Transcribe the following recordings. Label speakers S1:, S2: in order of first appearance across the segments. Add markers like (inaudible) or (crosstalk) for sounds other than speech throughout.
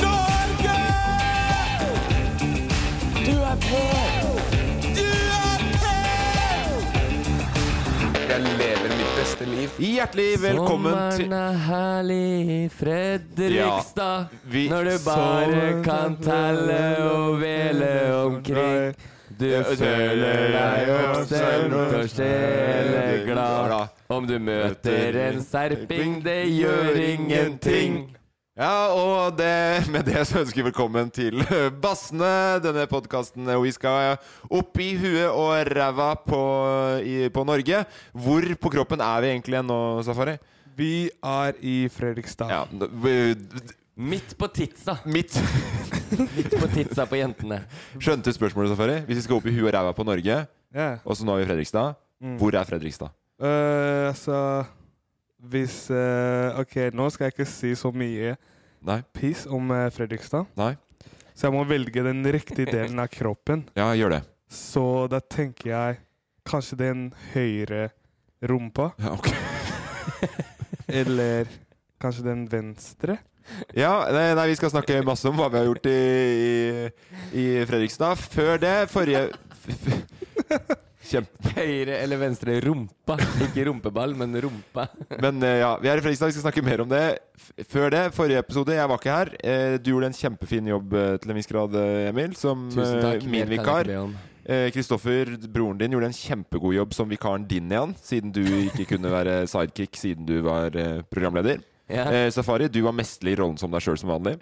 S1: Norge! Du er på! Du er på!
S2: Jeg lever mitt beste liv.
S3: Hjertelig velkommen til
S4: Sommeren er herlig, Fredrikstad.
S3: Ja, vi-
S4: når du
S3: Sommeren
S4: bare kan
S3: er
S4: telle og vele omkring. Du føler deg oppstemt og
S3: Glad.
S4: sjeleglad. Om du møter en serping, det gjør ingenting.
S3: Ja, og det, med det så ønsker vi velkommen til Bassene, denne podkasten hvor vi skal opp i huet og ræva på, i, på Norge. Hvor på kroppen er vi egentlig nå, Safari?
S1: Vi er i Fredrikstad.
S3: Ja, vi-
S4: Midt på titsa.
S3: mitt
S4: (laughs) Midt på titsa på jentene.
S3: skjønte spørsmålet, Safari. Hvis vi skal opp i huet og ræva på Norge,
S1: Ja.
S3: og så nå er vi i Fredrikstad, hvor er Fredrikstad?
S1: Eh, altså Hvis eh, OK, nå skal jeg ikke si så mye
S3: Nei?
S1: piss om eh, Fredrikstad,
S3: Nei?
S1: så jeg må velge den
S3: (laughs)
S1: riktige delen av kroppen.
S3: Ja, gjør det.
S1: Så da tenker jeg kanskje den høyre rumpa,
S3: Ja, ok.
S1: eller kanskje den venstre.
S3: Ja, nei, nei, vi skal snakke masse om hva vi har gjort i, i, i Fredrikstad. Før det, forrige Kjempe.
S4: Høyre eller venstre rumpa. Ikke rumpeball, men rumpa.
S3: Men eh, ja, vi er i Fredrikstad, vi skal snakke mer om det. F før det, forrige episode, jeg var ikke her. Eh, Du gjorde en kjempefin jobb eh, til en viss grad, eh, Emil, som
S4: Tusen
S3: eh,
S4: takk.
S3: min
S4: Mer kan jeg
S3: vikar.
S4: ikke be om.
S3: Eh, Kristoffer, broren din, gjorde en kjempegod jobb som vikaren din igjen, siden du ikke kunne være sidekick siden du var eh, programleder.
S4: Ja.
S3: Eh, Safari, du var mesterlig i rollen som deg sjøl som vanlig.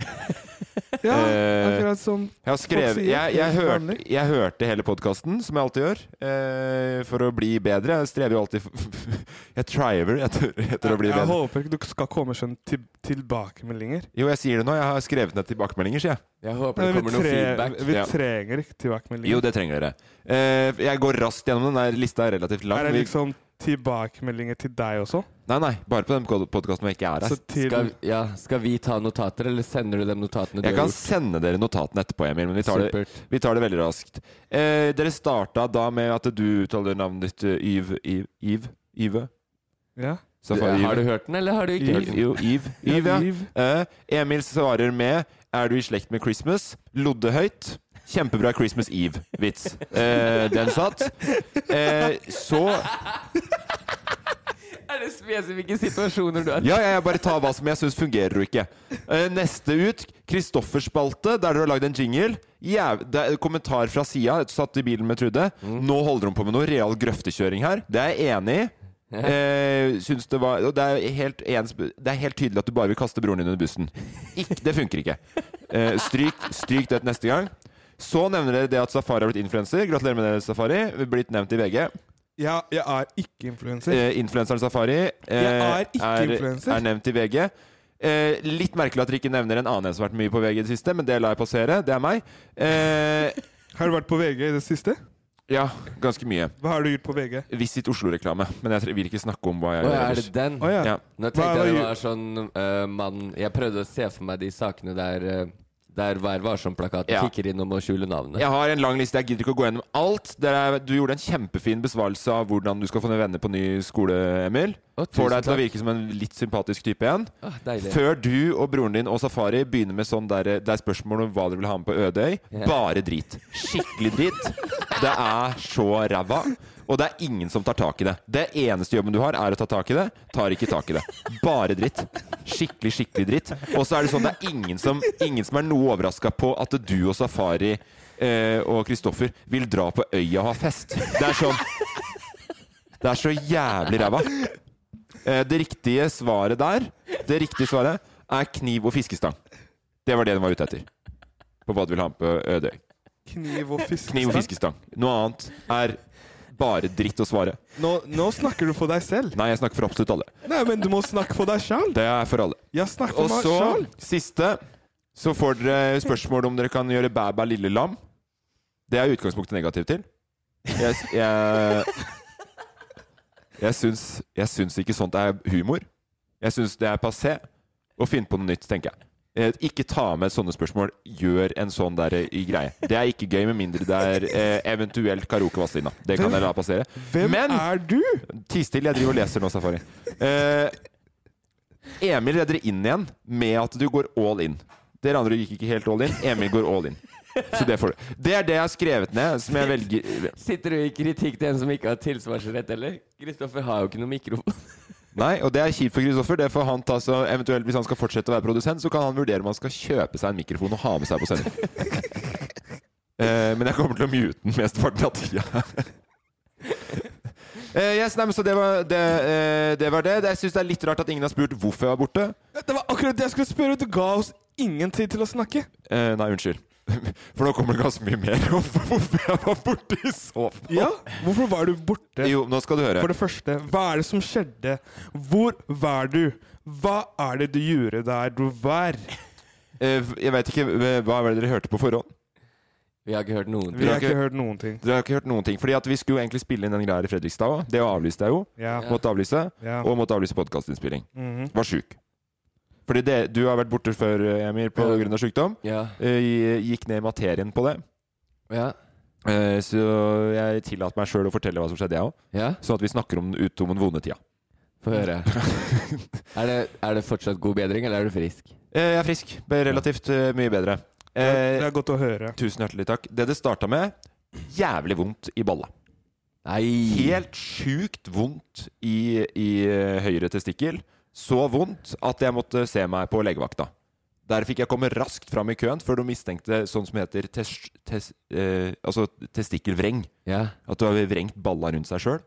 S1: Ja,
S3: Eh,
S1: akkurat som
S3: Jeg har skrevet
S1: Folk sier
S3: Jeg, jeg,
S1: helt
S3: hørte,
S1: vanlig.
S3: jeg hørte hele podkasten, som jeg alltid gjør, eh, for å bli bedre. Jeg strever jo alltid for, Jeg triver etter, etter å bli
S1: jeg,
S3: bedre.
S1: håper ikke du skal komme sånn til, tilbakemeldinger.
S3: Jo, jeg sier det nå. Jeg har skrevet ned tilbakemeldinger, sier jeg.
S4: Jeg håper det
S1: vi,
S4: kommer noe feedback.
S1: vi
S3: ja.
S1: trenger ikke tilbakemeldinger.
S3: Jo, det trenger dere. Eh, jeg går raskt gjennom den. Der lista er relativt lang.
S1: er det
S3: Vi-
S1: liksom tilbakemeldinger til deg også?
S3: Nei, nei. Bare på den podkasten hvor jeg ikke er her.
S1: Så til,
S4: Skal, ja, skal vi ta notater, eller sender du dem notatene du
S3: Jeg
S4: har
S3: kan
S4: gjort?
S3: sende dere notatene etterpå, Emil, men vi tar, det,
S4: Supert.
S3: vi tar det veldig raskt. Eh, dere starta da med at du uttaler navnet ditt eh, Yv... Yv? Yv? Yve?
S1: ja.
S3: Safari Yve?
S4: Har du hørt den, eller har du ikke hørt
S3: Yv,
S4: den?
S3: jo, Yv. Yv, ja.
S1: Yv.
S3: Eh, Emil svarer med 'Er du i slekt med Christmas?' Lodde høyt. Kjempebra Christmas Eve-vits. Eh, den satt. Eh, så
S4: Er det spesifikke situasjoner du har?
S3: Ja, ja, jeg bare tar hva som jeg syns fungerer og ikke. Eh, neste ut, Kristoffers spalte, der dere har lagd en jingle. Jæv det er kommentar fra sida, satt i bilen med Trude. Nå holder hun på med noe real grøftekjøring her. Det er jeg enig i. Eh, syns det var og det er, helt ens, det er helt tydelig at du bare vil kaste broren din under bussen. Ikk, det funker ikke. Eh, stryk, stryk det til neste gang. Så nevner dere det at Safari har blitt influenser. Gratulerer med det, Safari. Blitt nevnt i VG.
S1: Ja, jeg er ikke influenser.
S3: Eh, influenseren Safari eh,
S1: Jeg er ikke influenser.
S3: er nevnt i VG. Eh, litt merkelig at dere ikke nevner en annen en som har vært mye på VG i det siste, men det lar jeg passere. Det er meg. Eh,
S1: Har du vært på VG i det siste?
S3: Ja, ganske mye.
S1: Hva har du gjort på VG?
S3: Visit Oslo-reklame. Men jeg tre- vil ikke snakke om hva jeg
S4: Å,
S3: gjør
S4: er
S3: ellers.
S4: det den?
S1: Å ja.
S3: Ja.
S4: Nå
S1: Hva
S4: tenkte jeg det
S1: var
S4: var sånn eh, mann Jeg prøvde å se for meg de sakene der eh, Der Vær varsom-plakaten
S3: Ja.
S4: kikker inn om å skjule navnet.
S3: Jeg har en lang liste. Jeg gidder ikke å gå gjennom alt. Det er, du gjorde en kjempefin besvarelse av hvordan du skal få nye venner på ny skole, Emil.
S4: Å, tusen
S3: Får deg til å
S4: takk.
S3: virke som en litt sympatisk type igjen.
S4: Ah, deilig.
S3: Før du og broren din og Safari begynner med sånn der, det er spørsmål om hva dere vil ha med på Ødøy,
S4: Ja.
S3: bare drit. Skikkelig drit. Det er så ræva. Og det er ingen som tar tak i det. Det eneste jobben du har, er å ta tak i det. Tar ikke tak i det. Bare dritt. Skikkelig, skikkelig dritt. Og så er det sånn det er ingen som, ingen som er noe overraska på at du og Safari eh, og Kristoffer vil dra på øya og ha fest. Det er sånn Det er så jævlig ræva. Eh, Det riktige svaret der Det riktige svaret er kniv og fiskestang. Det var det den var ute etter. På hva du vil ha med på Ødøy.
S1: Kniv og fiskestang?
S3: Kniv og fiskestang. Noe annet er bare dritt å svare.
S1: Nå, nå snakker du for deg selv.
S3: Nei, jeg snakker for absolutt alle.
S1: Nei, men du må snakke for deg sjøl.
S3: Det er for alle.
S1: Jeg snakker
S3: Og
S1: for meg
S3: så,
S1: sjøl.
S3: siste, så får dere spørsmål om dere kan gjøre bæ-bæ lille lam. Det er jeg i utgangspunktet negativ til. Jeg, s- jeg, jeg, syns, jeg syns ikke sånt er humor. Jeg syns det er passé å finne på noe nytt, tenker jeg. Eh, Ikke ta med sånne spørsmål. Gjør en sånn der eh, i greie. Det er ikke gøy, med mindre det er eh, eventuelt karaoke Vazelina. Det kan jeg la passere.
S1: Hvem
S3: Men-
S1: er du?
S3: Tis til, jeg driver og leser nå, Safari. Eh, Emil redder inn igjen med at du går all in. Dere andre gikk ikke helt all in. Emil går all in. Så det får du. Det er det jeg har skrevet ned, som jeg velger
S4: Sitter du i kritikk til en som ikke har tilsvarsrett, eller? Kristoffer har jo ikke noe mikrofon. (laughs)
S3: Nei, og det er kjipt for Kristoffer. Det får han ta så eventuelt Hvis han skal fortsette å være produsent, så kan han vurdere om han skal kjøpe seg en mikrofon og ha med seg på sending. (laughs) Eh, men jeg kommer til å mute den mesteparten av tida. (laughs) Eh, yes, nei, men så det var det. eh, det, var det. det jeg syns det er litt rart at ingen har spurt hvorfor jeg var borte.
S1: Det var akkurat det jeg skulle spørre. Du ga oss ingen tid til å snakke.
S3: Eh, nei, unnskyld. (laughs) For nå kommer det ganske mye mer (laughs) om hvorfor jeg var borte i så fall.
S1: Ja, Hvorfor var du borte?
S3: Jo, nå skal du høre.
S1: For det første, hva er det som skjedde? Hvor var du? Hva er det du gjorde der du var?
S3: Eh, jeg vet ikke, eh, Hva var det dere hørte på forhånd?
S4: Vi har ikke hørt noen
S1: Vi
S4: ting.
S1: har ikke hørt noen ting.
S3: Dere har ikke hørt noen ting. Fordi at vi skulle jo egentlig spille inn den greia her i Fredrikstad òg. Det avlyste jeg jo.
S1: Ja.
S3: Måtte avlyse.
S1: ja.
S3: Og måtte avlyse podkastinnspilling.
S1: Mhm.
S3: Var sjuk. Fordi det, du har vært borte før, eh, Emir, på
S4: Ja.
S3: grunn av sykdom.
S4: Ja,
S3: Eh, gikk ned i materien på det.
S4: ja,
S3: Eh, så jeg tillater meg sjøl å fortelle hva som skjedde, jeg òg.
S4: ja.
S3: Sånn at vi snakker om, ut om den vonde tida.
S4: Få høre. Er det, er det fortsatt god bedring, eller er du frisk?
S3: Eh, jeg er frisk. Ble Relativt eh, mye bedre.
S1: Det er- det
S3: Eh,
S1: er godt å høre.
S3: tusen hjertelig takk. Det det starta med Jævlig vondt i balla.
S4: Nei!
S3: Helt sjukt vondt i, i eh, høyre testikkel. Så vondt at jeg måtte se meg på legevakta. Der fikk jeg komme raskt fram i køen før de mistenkte sånn som heter tes, tes, eh, altså testikkelvreng.
S4: Ja.
S3: At du har vrengt balla rundt seg sjøl.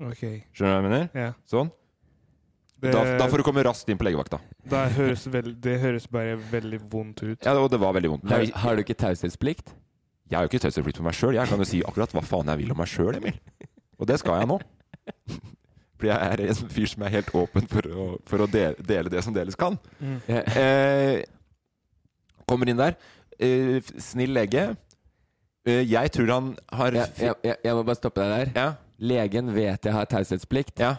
S1: Ok,
S3: Skjønner du hva jeg mener?
S1: ja.
S3: Sånn.
S1: Det,
S3: Da, da får du komme raskt inn på legevakta.
S1: da høres veld, det høres bare veldig vondt ut.
S3: Ja, og det var veldig vondt. Men
S4: Har,
S3: Jeg,
S4: har du ikke taushetsplikt?
S3: jeg har jo ikke taushetsplikt på meg sjøl. Jeg kan jo si akkurat hva faen jeg vil om meg sjøl, Emil. Og det skal jeg nå. (laughs) Fordi jeg er en fyr som er helt åpen for å, for å dele, dele det som deles kan.
S4: Ja.
S3: Eh, kommer inn der. Eh, f- snill lege. Eh, jeg tror han har
S4: Jeg, jeg, jeg, jeg må bare stoppe deg der.
S3: ja.
S4: Legen vet jeg har taushetsplikt.
S3: ja.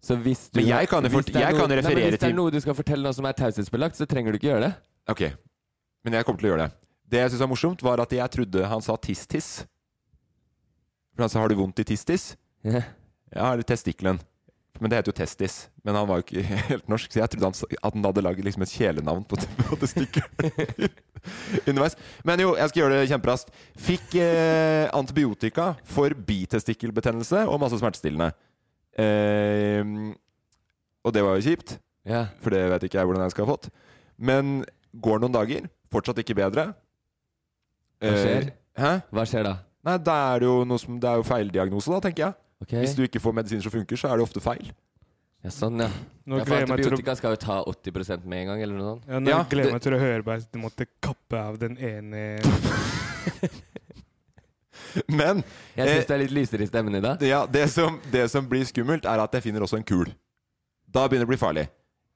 S4: Så hvis du
S3: Men jeg kan jo
S4: hvis
S3: fort-
S4: det er
S3: jeg
S4: noe-
S3: kan jo
S4: Nei, men
S3: referere
S4: Hvis det
S3: til-
S4: er noe du skal fortelle nå som er taushetsbelagt, så trenger du ikke gjøre det.
S3: Ok. Men jeg kommer til å gjøre det. Det jeg syns var morsomt, var at jeg trodde han sa tiss-tiss. For han sa 'har du vondt i tiss-tiss'?
S4: Ja.
S3: Ja, eller testikkelen. Men det heter jo testis. Men han var jo ikke (laughs) helt norsk, så jeg trodde han, sa- at han hadde laget liksom et kjælenavn på, (laughs) på testikkelen (laughs) underveis. Men jo, jeg skal gjøre det kjemperaskt. Fikk eh, antibiotika for bitestikkelbetennelse og masse smertestillende. Eh, og det var jo kjipt,
S4: Ja.
S3: for det vet ikke jeg hvordan jeg skal ha fått. Men går noen dager, fortsatt ikke bedre.
S4: Hva skjer?
S3: Eh, hæ?
S4: Hva skjer da?
S3: Nei, det er jo, noe som, det er jo feildiagnose, da, tenker jeg.
S4: Ok.
S3: Hvis du ikke får medisiner som funker, så er det ofte feil. (laughs)
S4: Ja, sånn, ja.
S1: Nå
S4: ja for
S1: gleder jeg meg til å
S4: antibiotika skal jo ta 80 med en gang, eller noe sånt.
S1: ja, nå
S3: Ja,
S1: gleder jeg
S3: det-
S1: meg til å høre bare at du måtte kappe av den ene
S3: Men
S4: Jeg
S3: Eh,
S4: syns det er litt lysere i stemmen i dag.
S3: ja, det, som, det som blir skummelt, er at jeg finner også en kul. Da begynner det å bli farlig.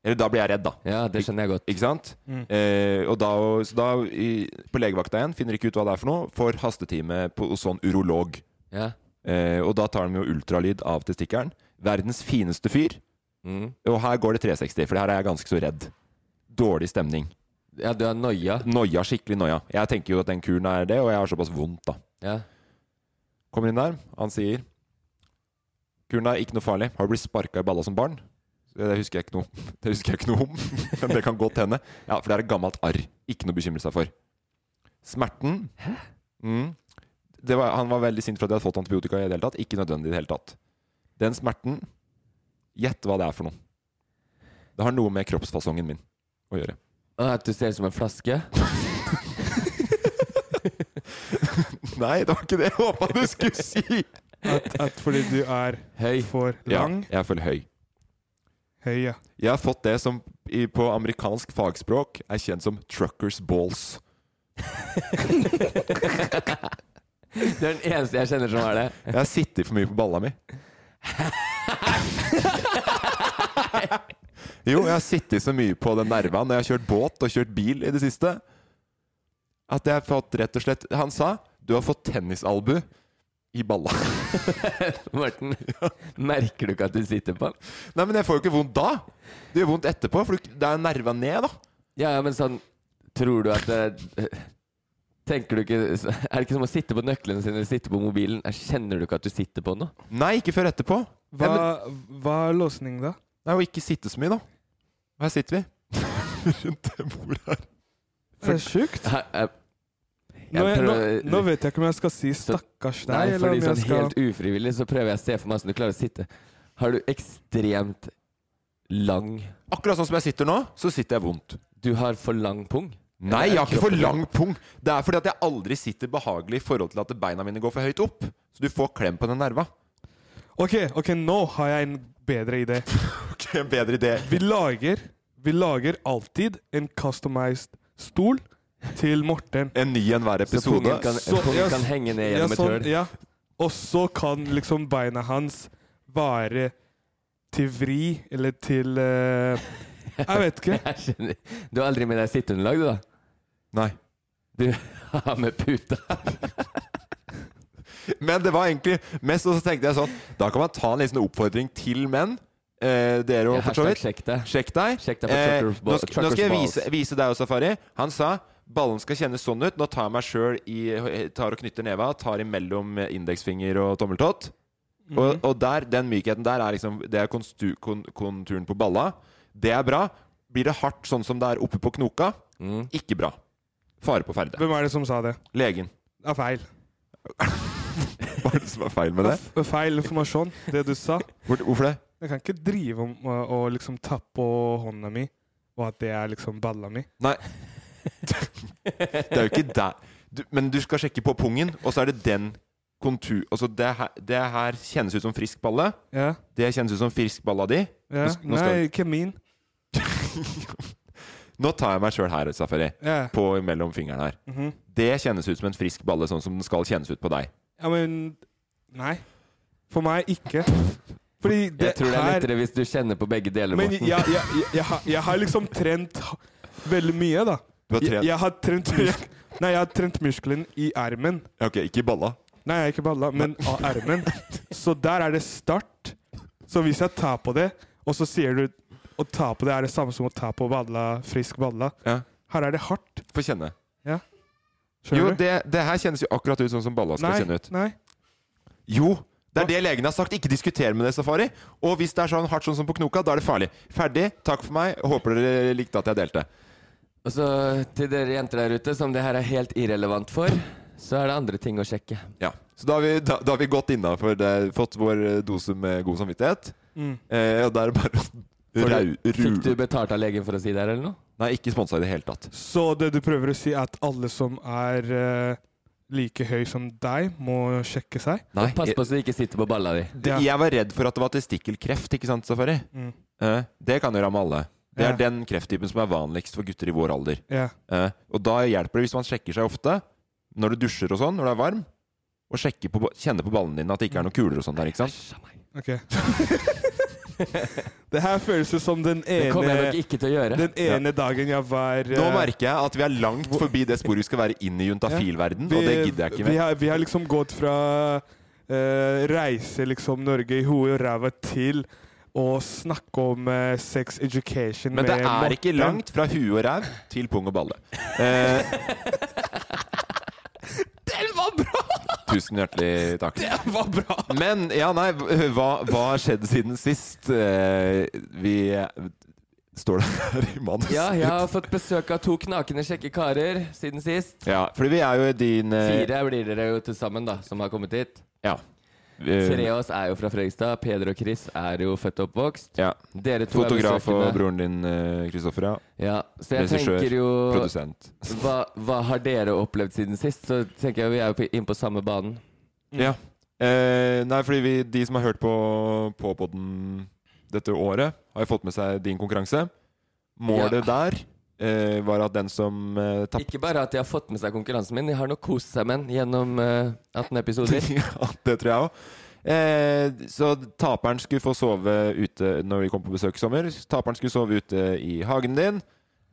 S3: Eller da blir jeg redd, da.
S4: Ja, det skjønner jeg godt.
S3: Ikke sant? Eh, og da, så da i, på legevakta igjen, finner ikke ut hva det er for noe, får hastetime på, hos sånn urolog.
S4: Ja.
S3: Eh, og da tar de jo ultralyd av testikkelen. Verdens fineste fyr.
S4: Mm.
S3: Og her går det 360, for her er jeg ganske så redd. Dårlig stemning.
S4: ja, du har noia.
S3: Noia, skikkelig noia. Jeg tenker jo at den kuren er det, og jeg har såpass vondt, da.
S4: Ja.
S3: Kommer inn der, han sier Kuren er ikke noe farlig. Har du blitt sparka i balla som barn? Det husker jeg ikke noe (laughs) Det husker jeg ikke noe om, (laughs) men det kan godt hende. Ja, For det er et gammelt arr. Ikke noe å bekymre seg for. Smerten Mm. Det var, han var veldig sint for at jeg hadde fått antibiotika i det hele tatt. Ikke nødvendig i det hele tatt. Den smerten Gjett hva det er for noe. Det har noe med kroppsfasongen min å gjøre.
S4: Å, At du ser ut som en flaske?
S3: (laughs)
S4: (laughs)
S3: Nei, det var ikke det jeg håpa du skulle si!
S1: At, at fordi du er
S4: Høy.
S1: for
S3: Ja,
S1: lang,
S3: jeg er for høy.
S1: høy, ja.
S3: Jeg har fått det som i, på amerikansk fagspråk er kjent som 'truckers balls'.
S4: Det er den eneste jeg kjenner som har det.
S3: Jeg har sittet for mye på balla mi.
S4: (laughs)
S3: jo, jeg har sittet så mye på den nerven når jeg har kjørt båt og kjørt bil i det siste, at jeg har fått rett og slett Han sa 'du har fått tennisalbu i balla'.
S4: (laughs) Morten, merker du ikke at du sitter på den?
S3: Nei, men jeg får jo ikke vondt da! Det gjør vondt etterpå, for du- det er nerven ned, da.
S4: Ja, ja, men sånn Tror du at det Tenker du ikke Er det ikke som å sitte på nøklene sine eller sitte på mobilen? Eh, Kjenner du ikke at du sitter på noe?
S3: Nei, ikke før etterpå.
S1: Hva, hva er løsningen da?
S3: Nei, og ikke sitte så mye, da. Og her sitter vi. (laughs) Rundt det bordet her.
S1: Det er sjukt.
S4: Her- er- Jeg
S1: Nå, nå,
S4: prøver-
S1: nå vet jeg ikke om jeg skal si 'stakkars
S4: Nei,
S1: deg', eller
S4: fordi
S1: om
S4: sånn
S1: jeg skal
S4: helt ufrivillig så prøver jeg å se for meg hvordan du klarer å sitte. Har du ekstremt lang
S3: Akkurat sånn som jeg sitter nå, så sitter jeg vondt.
S4: Du har for lang pung?
S3: Nei, jeg har ikke for lang pung. Det er fordi at jeg aldri sitter behagelig i forhold til at beina mine går for høyt opp. Så du får klem på den nerva.
S1: Ok, ok, nå har jeg en bedre idé.
S3: Ok, en bedre idé.
S1: Vi lager, vi lager alltid en customized stol til Morten.
S3: En ny enhver
S4: Så
S3: episode.
S4: pungen kan,
S1: Så-
S4: pungen
S1: ja,
S4: kan henge ned
S1: Ja,
S4: gjennom et
S1: sånn,
S4: hull?
S1: ja. Og så kan liksom beina hans være til vri, eller til eh, Jeg vet ikke.
S4: (laughs) Jeg skjønner. Du har aldri med deg sitteunderlag, du, da? (laughs)
S3: Nei.
S4: Du har med puta.
S3: Men det var egentlig mest, og så tenkte jeg sånn Da kan man ta en liten oppfordring til menn. Eh, dere òg, for så
S4: Hashtag
S3: vidt.
S4: sjekk det.
S3: Sjekk deg.
S4: Sjekk deg på
S3: Eh,
S4: truckers ball-
S3: nå, sk- nå skal jeg
S4: truckers
S3: vise, vise deg og Safari. Han sa ballen skal kjennes sånn ut. Nå tar jeg meg sjøl i eh, Tar og knytter neva. Tar imellom eh, indeksfinger og tommeltott.
S4: Mhm.
S1: Mm.
S3: Og, og der, den mykheten der er liksom Det er konstu, kon, konturen på balla. Det er bra. Blir det hardt sånn som det er oppe på knoka?
S4: Mm.
S3: Ikke bra. Fare på ferde.
S1: Hvem er det som sa det?
S3: Legen. (laughs)
S1: Det er feil.
S3: Hva er det som er feil med det?
S1: Det er Feil informasjon, det du sa.
S3: Hvor, hvorfor det?
S1: Jeg kan ikke drive om å, å liksom tappe hånda mi, og at det er liksom balla mi.
S3: Nei. Det er jo ikke der du, Men du skal sjekke på pungen, og så er det den kontur... Altså, det her, det her kjennes ut som frisk balle.
S1: Ja,
S3: Det kjennes ut som frisk balla di.
S1: ja.
S3: Nå s- nå skal
S1: Nei, ikke min.
S3: Nå tar jeg meg sjøl her, Safari.
S1: Ja.
S3: På mellom fingrene her.
S1: Mhm.
S3: Det kjennes ut som en frisk balle, sånn som den skal kjennes ut på deg.
S1: ja, men Nei. For meg ikke. Fordi det
S4: Jeg tror det er
S1: her
S4: lettere hvis du kjenner på begge deler,
S1: Men jeg,
S4: Morten.
S1: jeg, jeg, jeg, har, jeg har liksom trent ha- veldig mye, da.
S3: Du har
S1: Jeg,
S3: trent
S1: jeg har trent mus- Nei, jeg har trent muskelen i ermen.
S3: Ja, Ok, ikke i balla.
S1: Nei, jeg er ikke balla, men av ermen. Så der er det start. Så hvis jeg tar på det, og så sier du å ta på det er det samme som å ta på balla, frisk balla.
S3: Ja.
S1: Her er det hardt.
S3: Få kjenne. Jo,
S1: Skjønner du?
S3: det, det her kjennes jo akkurat ut sånn som balla skal
S1: nei,
S3: kjenne ut.
S1: nei.
S3: Jo, det er det legen har sagt. Ikke diskuter med det, Safari. Og hvis det er sånn hardt sånn som på knoka, da er det farlig. Ferdig. Takk for meg. Håper dere likte at jeg delte.
S4: Og så til dere jenter der ute, som det her er helt irrelevant for, så er det andre ting å sjekke.
S3: Ja. Så da har vi, da, da har vi gått innafor det, fått vår eh, dose med god samvittighet.
S1: Mm.
S3: Eh, og da er det bare å
S4: For
S3: rau-
S4: du, fikk du
S3: ru-
S4: betalt av legen for å si det her, eller noe?
S3: Nei, ikke sponsa i det hele tatt.
S1: Så det du prøver å si, er at alle som er eh, like høy som deg, må sjekke seg?
S3: Nei,
S4: Pass
S3: jeg,
S4: på så du ikke sitter på balla di.
S3: det, jeg var redd for at det var testikkelkreft, ikke sant, Safari?
S1: Mm.
S3: Eh, det kan jo ramme alle. Det er
S1: Ja.
S3: den krefttypen som er vanligst for gutter i vår alder.
S1: Ja.
S3: Eh, og da hjelper det hvis man sjekker seg ofte, når du dusjer og sånn, når du er varm, og sjekker på, kjenner på ballene dine at det ikke er noe kuler og sånn der, ikke sant?
S1: Ok. (laughs) Det her føles jo som den
S4: Det kommer jeg nok
S1: ene,
S4: ikke til å gjøre.
S1: den ene dagen jeg var
S3: Nå
S1: eh,
S3: merker jeg at vi er langt forbi det sporet vi skal være inn i juntafilverden, og det gidder jeg ikke
S1: vi
S3: mer.
S1: har, vi har liksom gått fra eh, reise liksom Norge i hodet og ræva til å snakke om eh, sex education
S3: Men det
S1: med
S3: er ikke
S1: Morten.
S3: langt fra hue og ræv til pung og balle. Eh,
S1: Den var bra!
S3: tusen hjertelig takk.
S1: Den var bra!
S3: Men ja, nei, hva, hva har skjedd siden sist? Eh, vi Står det her i manus?
S4: Ja, jeg har fått besøk av to knakende kjekke karer siden sist.
S3: Ja, fordi vi er jo i din eh,
S4: Fire blir dere jo til sammen, da, som har kommet hit.
S3: Ja.
S4: Tre
S3: Eh,
S4: av oss er jo fra Fredrikstad. Peder og Chris er jo født og oppvokst.
S3: ja.
S4: Dere to
S3: Fotograf
S4: er
S3: og
S4: besøkende.
S3: broren din, eh, Kristoffer, ja.
S4: Ja, så jeg
S3: Regissør,
S4: tenker jo
S3: Produsent.
S4: hva, hva har dere opplevd siden sist? Så tenker jeg vi er jo på- inne på samme banen.
S3: Ja. Eh, nei, fordi vi, de som har hørt på, på podden dette året, har jo fått med seg din konkurranse. Målet der eh, var at den som eh, tapte
S4: Ikke bare at de har fått med seg konkurransen min, de har nok kost seg med den gjennom eh, 18 episoder.
S3: (laughs) Ja, det tror jeg òg. Eh, så taperen skulle få sove ute når vi kom på besøk i sommer. Taperen skulle sove ute i hagen din,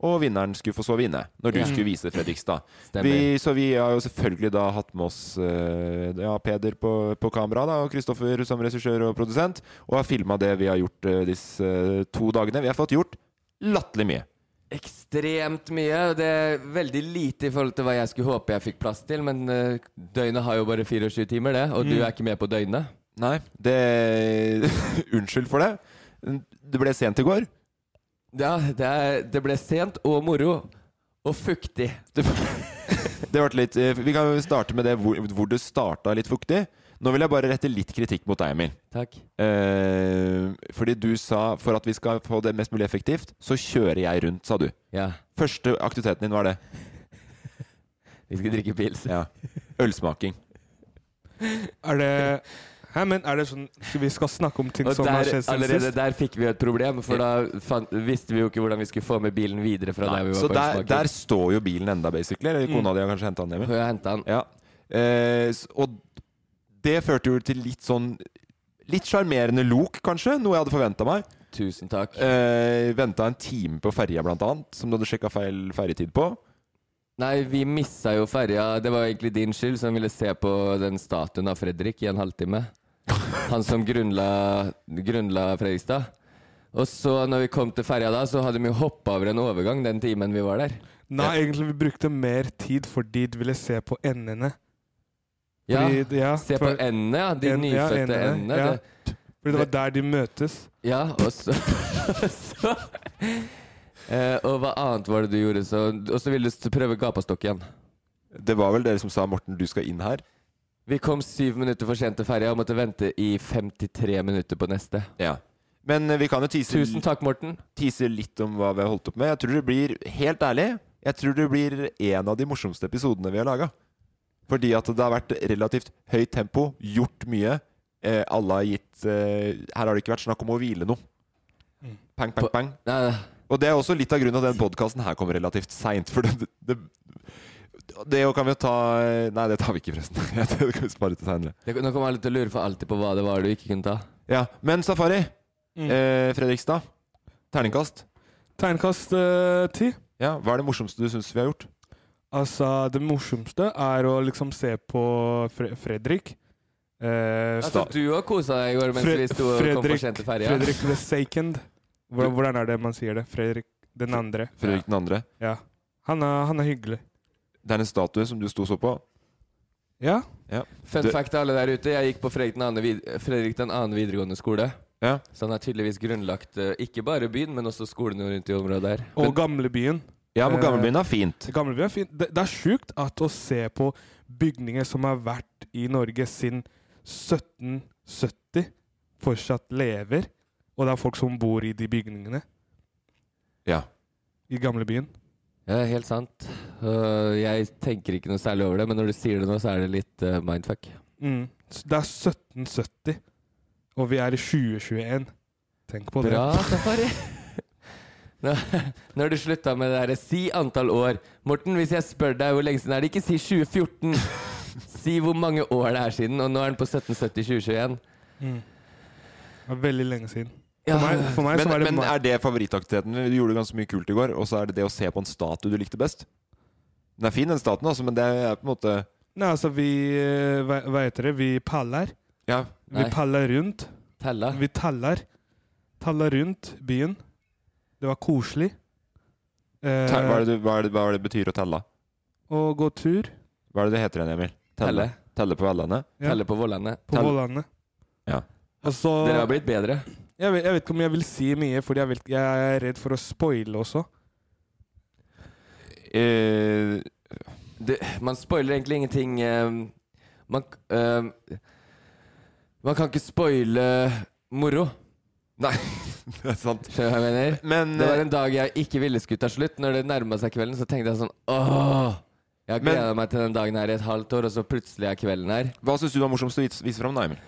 S3: og vinneren skulle få sove inne når du
S4: Ja.
S3: skulle vise Fredrikstad.
S4: Stemmer.
S3: Vi, så vi har jo selvfølgelig da hatt med oss eh, ja, Peder på, på kamera da, og Kristoffer som regissør og produsent, og har filma det vi har gjort eh, disse eh, to dagene. Vi har fått gjort latterlig mye.
S4: Ekstremt mye. og Det er veldig lite i forhold til hva jeg skulle håpe jeg fikk plass til, men eh, døgnet har jo bare 24 timer, det. Og du
S1: Mm.
S4: er ikke med på døgnet.
S3: Nei, det (laughs) Unnskyld for det. Det ble sent i går.
S4: Ja, det, er, det ble sent og moro. Og fuktig.
S3: (laughs) Det, det ble litt eh, Vi kan jo starte med det hvor, hvor du starta litt fuktig. Nå vil jeg bare rette litt kritikk mot deg, Emil.
S4: Takk.
S3: Eh, fordi du sa for at vi skal få det mest mulig effektivt, så kjører jeg rundt, sa du.
S4: Ja.
S3: Første aktiviteten din var det.
S4: (laughs) Vi skal drikke pils.
S3: Ja. Ølsmaking.
S1: Er det Hæ, men er det sånn skal Vi skal snakke om ting
S4: Og
S1: som har
S4: der,
S1: skjedd siden
S4: allerede
S1: sist.
S4: der fikk vi jo et problem, for da fant, visste vi jo ikke hvordan vi skulle få med bilen videre fra der vi var
S3: så
S4: på
S3: der, der
S4: ølsmaking.
S3: står jo bilen enda, basically. Eller kona di har kanskje henta den hjem.
S4: Og jeg hentet han.
S3: Ja. Eh, s- og det førte jo til litt sånn Litt sjarmerende lok, kanskje. Noe jeg hadde forventa meg.
S4: Tusen takk.
S3: Eh, Venta en time på ferja, blant annet, som du hadde sjekka feil ferjetid på.
S4: Nei, vi missa jo ferja. Det var egentlig din skyld, som ville se på den statuen av Fredrik i en halvtime. Han som grunnla, grunnla Fredrikstad. Og så, når vi kom til ferja da, så hadde vi jo hoppa over en overgang den timen vi var der.
S1: Nei, egentlig vi brukte mer tid fordi du ville se på endene.
S4: Ja,
S1: Fordi- ja,
S4: Se på
S1: for-
S4: endene, ja. De
S1: En- ja,
S4: nyfødte
S1: endene,
S4: endene.
S1: ja.
S4: Ja.
S1: Fordi det var der de møtes.
S4: ja, og så, (laughs) så eh, Og hva annet var det du gjorde? Så, og så ville du s- prøve gapastokk igjen.
S3: Det var vel dere som sa 'Morten, du skal inn her'?
S4: Vi kom syv minutter for sent til ferja og måtte vente i 53 minutter på neste.
S3: Ja. Men eh, vi kan jo tease,
S4: Tusen takk, Morten.
S3: tease litt om hva vi har holdt opp med. Jeg tror det blir, helt ærlig, jeg tror det blir en av de morsomste episodene vi har laga. Fordi at det har vært relativt høyt tempo, gjort mye. Eh, alle har gitt eh, Her har det ikke vært snakk om å hvile noe.
S1: Mm.
S3: Pang, pang,
S4: På-
S3: pang.
S4: Nei, nei.
S3: Og det er også litt av grunnen til at den podkasten her kommer relativt seint. For det, det, det jo kan vi jo ta eh, Nei, det tar vi ikke, forresten. (laughs) Det kan vi spare til senere.
S4: Det, nå kommer alle til å lure for alltid på hva det var du ikke kunne ta.
S3: Ja, Men Safari,
S1: Mm.
S3: eh, Fredrikstad. Terningkast.
S1: Tegnkast eh, ti.
S3: Ja, Hva er det morsomste du syns vi har gjort?
S1: Altså, det morsomste er å liksom se på Fre Fredrik. Eh,
S4: Altså, du òg kosa deg i går mens
S1: Fre-
S4: vi sto og kom for
S1: Fredrik-
S4: sent til ferja.
S1: Fredrik the second. Hvordan, hvordan er det man sier det? Fredrik den andre.
S3: Fredrik den andre.
S1: Ja. Han er, han er hyggelig.
S3: Det er en statue som du sto og så på.
S1: Ja.
S4: Fun
S3: Du-
S4: fact til alle der ute, jeg gikk på Fredrik den andre, vid Fredrik den andre videregående skole.
S3: Ja.
S4: Så han har tydeligvis grunnlagt eh, ikke bare byen, men også skolene rundt i området der.
S1: Og gamlebyen.
S3: Ja, men
S1: Eh,
S3: gamlebyen er fint.
S1: Gamlebyen er fin. Det, det er sjukt at å se på bygninger som har vært i Norge siden 1770, fortsatt lever. Og det er folk som bor i de bygningene
S3: Ja.
S1: i gamlebyen.
S4: Ja, det er helt sant. Og jeg tenker ikke noe særlig over det, men når du sier det nå, så er det litt eh, mindfuck.
S1: Mm. S- Det er 1770, og vi er i 2021. Tenk på det. (laughs)
S4: Bra, Safari. Nå- Når du slutta med det derre Si antall år. Morten, hvis jeg spør deg hvor lenge siden er det, ikke si 2014. Si hvor mange år det er siden, og nå er den på 1770-2021.
S1: Mm. Det er veldig lenge siden. For meg, for meg
S3: Men,
S1: så er det
S3: men
S1: ma-
S3: er det favorittaktiviteten? Du gjorde ganske mye kult i går, og så er det det å se på en statue du likte best? Den er fin, den statuen, altså, men det er på en måte
S1: Nei, altså, vi eh, Hva hva heter det? Vi paller.
S3: Ja.
S1: Vi
S4: Nei.
S1: paller rundt.
S4: Tella.
S1: Vi teller. Teller rundt byen. Det var koselig. Eh,
S3: Te- Hva er det, du- hva er det, hva er det betyr å telle?
S1: Og gå tur
S3: Hva er det det heter igjen, Emil? Telle?
S4: Telle.
S3: Telle på Vellene?
S1: Ja.
S4: Telle på Vålandet.
S1: på
S4: Tell-
S1: Vålandet.
S3: Ja.
S1: Og så
S4: Dere har blitt bedre.
S1: jeg, vet, jeg vet ikke om jeg vil si mye, fordi jeg, vet, jeg er redd for å spoile også.
S3: Eh,
S4: det, man spoiler egentlig ingenting. ehm, man, k- ehm, man kan ikke spoile moro,
S3: nei, (laughs) det er sant.
S4: skjønner du hva jeg mener?
S3: Men, eh,
S4: Det var en dag jeg ikke ville skutt av slutt. Når det nærma seg kvelden, så tenkte jeg sånn åh! Jeg har
S3: Men-
S4: gleda meg til den dagen her i et halvt år, og så plutselig er kvelden her.
S3: eh, hva syns du var morsomst å vise, vise fram, da, Emil?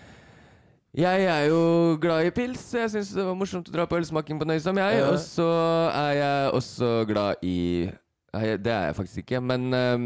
S4: Jeg er jo glad i pils, så jeg syns det var morsomt å dra på ølsmaking på Nøysom, jeg.
S3: Ja.
S4: Og så er jeg også glad i Nei, Det er jeg faktisk ikke, men ehm,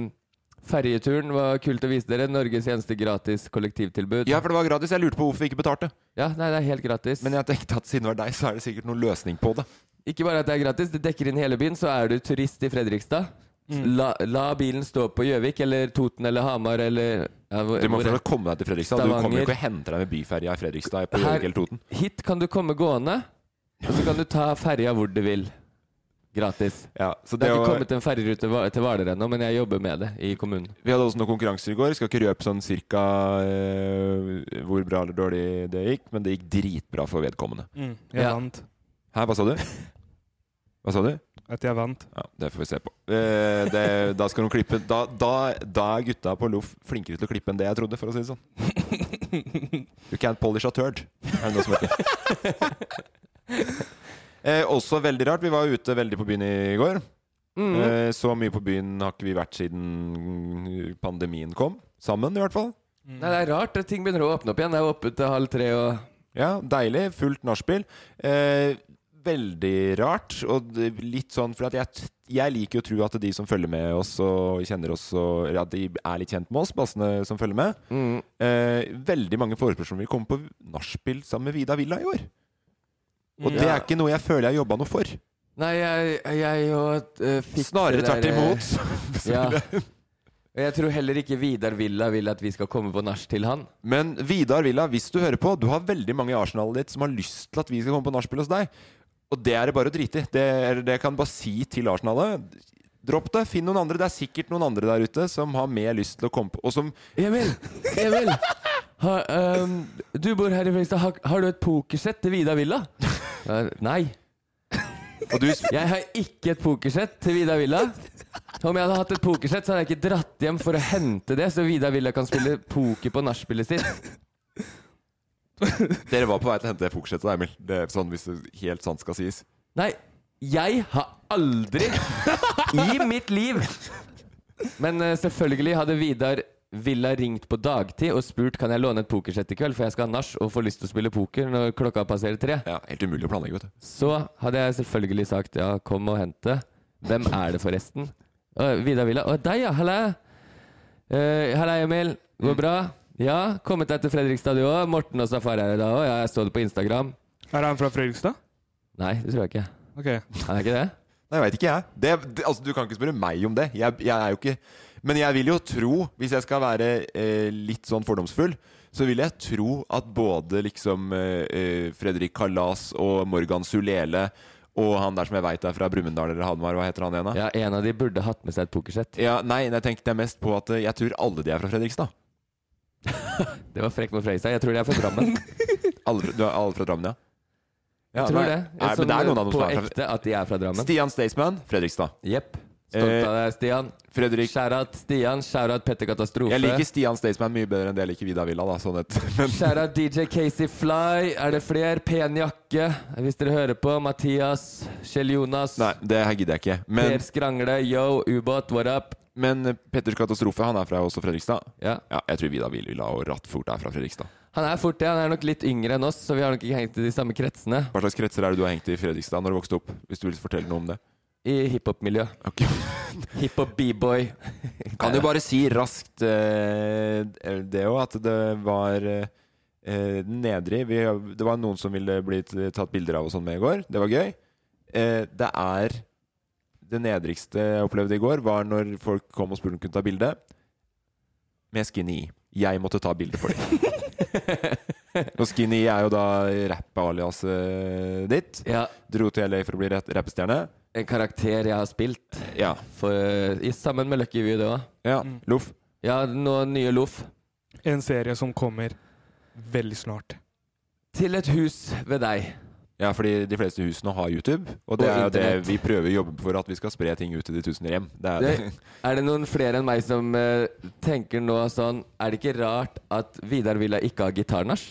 S4: ferjeturen var kult å vise dere. Norges eneste gratis kollektivtilbud.
S3: Ja, for det var gratis. Jeg lurte på hvorfor vi ikke betalte.
S4: Ja, nei, det er helt gratis.
S3: Men jeg tenkte at siden det var deg, så er det sikkert noen løsning på det.
S4: Ikke bare at det er gratis, det dekker inn hele byen. Så er du turist i Fredrikstad.
S3: Mm.
S4: La, la bilen stå på Gjøvik eller Toten eller Hamar eller ja, hvor,
S3: Du må
S4: hvor-
S3: prøve å komme deg til Fredrikstad. Du kommer jo
S4: Stavanger.
S3: ikke og henter deg med byferja i Fredrikstad på
S4: Her-
S3: Gjøvik eller Toten.
S4: Hit kan du komme gående, og så kan du ta ferja hvor du vil. Gratis.
S3: Ja, så
S4: Det
S3: det
S4: har ikke
S3: var,
S4: kommet en ferjerute va- til Hvaler ennå, men jeg jobber med det i kommunen.
S3: vi hadde også noen konkurranser i går. Skal ikke røpe sånn cirka eh, hvor bra eller dårlig det gikk, men det gikk dritbra for vedkommende.
S1: Jeg
S4: Ja.
S1: vant.
S3: Hæ, hva sa du? Hva sa du?
S1: At jeg vant.
S3: Ja, det får vi se på. Eh, det, da skal de klippe da, da, da er gutta på Loff flinkere til å klippe enn det jeg trodde, for å si det sånn. You can't polish a turd, er det noe som heter. (laughs) eh, også veldig rart. Vi var ute veldig på byen i går.
S4: Mm.
S3: Eh, så mye på byen har ikke vi vært siden pandemien kom. Sammen, i hvert fall.
S4: Nei, det er rart. det- Ting begynner å åpne opp igjen. Det er åpent til halv tre og
S3: Ja, deilig. Fullt nachspiel. Eh, veldig rart. Og det- litt sånn For at jeg, t- jeg liker jo å tro at de som følger med oss og kjenner oss, og, eller at de er litt kjent med oss, bassene som følger med. Eh, veldig mange forespørsler vil komme på nachspiel sammen med Vida Villa i år. Og det er ikke noe jeg føler jeg har jobba noe for.
S4: Nei, jeg, jeg og eh, fikk
S3: Snarere
S4: det der,
S3: tvert
S4: eh,
S3: imot. (laughs) så-
S4: Ja. Og jeg tror heller ikke Vidar Villa vil at vi skal komme på nach til han.
S3: Men Vidar Villa, hvis du hører på, du har veldig mange i arsenalet ditt som har lyst til at vi skal komme på nachspiel hos deg. Og det er det bare å drite i. Det, er- det kan jeg bare si til arsenalet. Dropp det. Finn noen andre. Det er sikkert noen andre der ute som har mer lyst til å komme på. Og som
S4: Emil! Emil! Ha, ehm, du bor her i Fredrikstad. Har, har du et pokersett til Vidar Villa? Eh, Nei.
S3: Og du sp-
S4: Jeg har ikke et pokersett til Vidar Villa. Om jeg hadde hatt et pokersett, så hadde jeg ikke dratt hjem for å hente det, så Vidar Villa kan spille poker på nachspielet sitt.
S3: Dere var på vei til å hente det fokuset til deg, Emil. Det er sånn, hvis det helt sant skal sies.
S4: Nei, jeg har aldri i mitt liv Men eh, selvfølgelig hadde Vidar Villa ringt på dagtid og spurt Kan jeg låne et pokersett i kveld, for jeg skal ha nach og får lyst til å spille poker når klokka passerer tre.
S3: Ja, Helt umulig å planlegge, vet du.
S4: Så hadde jeg selvfølgelig sagt ja, kom og hent det. Hvem er det forresten? Å, Vidar Villa. Å, deg, ja. Halla. Eh, halla, Emil. Går bra? Ja, kommet deg til Fredrikstad, du òg? Morten og Safari er her i dag òg? Ja, jeg så det på Instagram.
S1: Er han fra Fredrikstad?
S4: Nei, det tror jeg ikke.
S1: Ok.
S4: Han er ikke det?
S3: Nei, veit ikke jeg. Det, det, altså, du kan ikke spørre meg om det. Jeg, jeg er jo ikke Men jeg vil jo tro, hvis jeg skal være eh, litt sånn fordomsfull, så vil jeg tro at både liksom eh, eh, Fredrik Kalas og Morgan Sulele og han der som jeg veit er fra Brumunddal eller Hamar, hva heter han igjen, da?
S4: Ja, en av de burde hatt med seg et pokersett.
S3: Ja, nei, jeg tenkte jeg mest på at eh, jeg tror alle de er fra Fredrikstad.
S4: Det var frekk mot Fredrikstad. Jeg tror de er fra
S3: (laughs)
S4: Drammen.
S3: Alle, du er alle fra Drammen, ja? ja
S4: Jeg tror
S3: nei,
S4: det.
S3: Nei,
S4: Sånn
S3: men det er noen av dem
S4: på
S3: som er fra
S4: ekte at de er fra Drammen.
S3: Stian Staysman, Fredrikstad.
S4: Jepp. Stolt
S3: Eh,
S4: av deg, Stian.
S3: Fredrik
S4: Skjærat Stian. Skjærat Petter Katastrofe.
S3: Jeg liker Stian Staysman mye bedre enn det jeg liker Vidar Villa, da, sånn et (laughs) men-
S4: Skjærat DJ Casey Fly. Er det fler? Pen jakke, hvis dere hører på. Mathias. Kjell Jonas.
S3: Nei, det her gidder jeg ikke. Men
S4: Per Skrangle. Yo, ubåt, what up?
S3: Men Petters katastrofe, han er fra også Fredrikstad.
S4: Ja.
S3: Ja, jeg tror Vidar Villa og Rattfort er fra Fredrikstad.
S4: Han er fort det. Han er nok litt yngre enn oss, så vi har nok ikke hengt i de samme kretsene
S3: Hva slags kretser er det du har hengt i Fredrikstad når du vokste opp? Hvis du vil fortelle noe om det.
S4: i hiphop-miljø.
S3: (laughs)
S4: Hiphop b-boy.
S3: Kan jo bare si raskt eh, det òg, at det var eh, eh, nedrig. Vi, det var noen som ville bli t- tatt bilder av og sånn med i går. Det var gøy. Eh, det er Det nedrigste jeg opplevde i går, var når folk kom og spurte om de kunne ta bilde. Med skinny i. Jeg måtte ta bilde for dem. og skinny er jo da rapp-aliaset ditt.
S4: (laughs) Ja,
S3: Dro til LA for å bli rett- rappestjerne.
S4: en karakter jeg har spilt
S3: Ja.
S4: for, i, sammen med Lucky View, det òg.
S3: ja. Loff.
S4: Ja, nå nye Loff.
S1: En serie som kommer veldig snart.
S4: Til et hus ved deg.
S3: Ja, fordi de fleste husene har YouTube, og det
S4: Og
S3: er jo det
S4: internett.
S3: vi prøver å jobbe for at vi skal spre ting ut til de tusen hjem. Det er,
S4: Det, er det noen flere enn meg som eh, tenker nå sånn Er det ikke rart at Vidar Villa ikke har gitarnasj?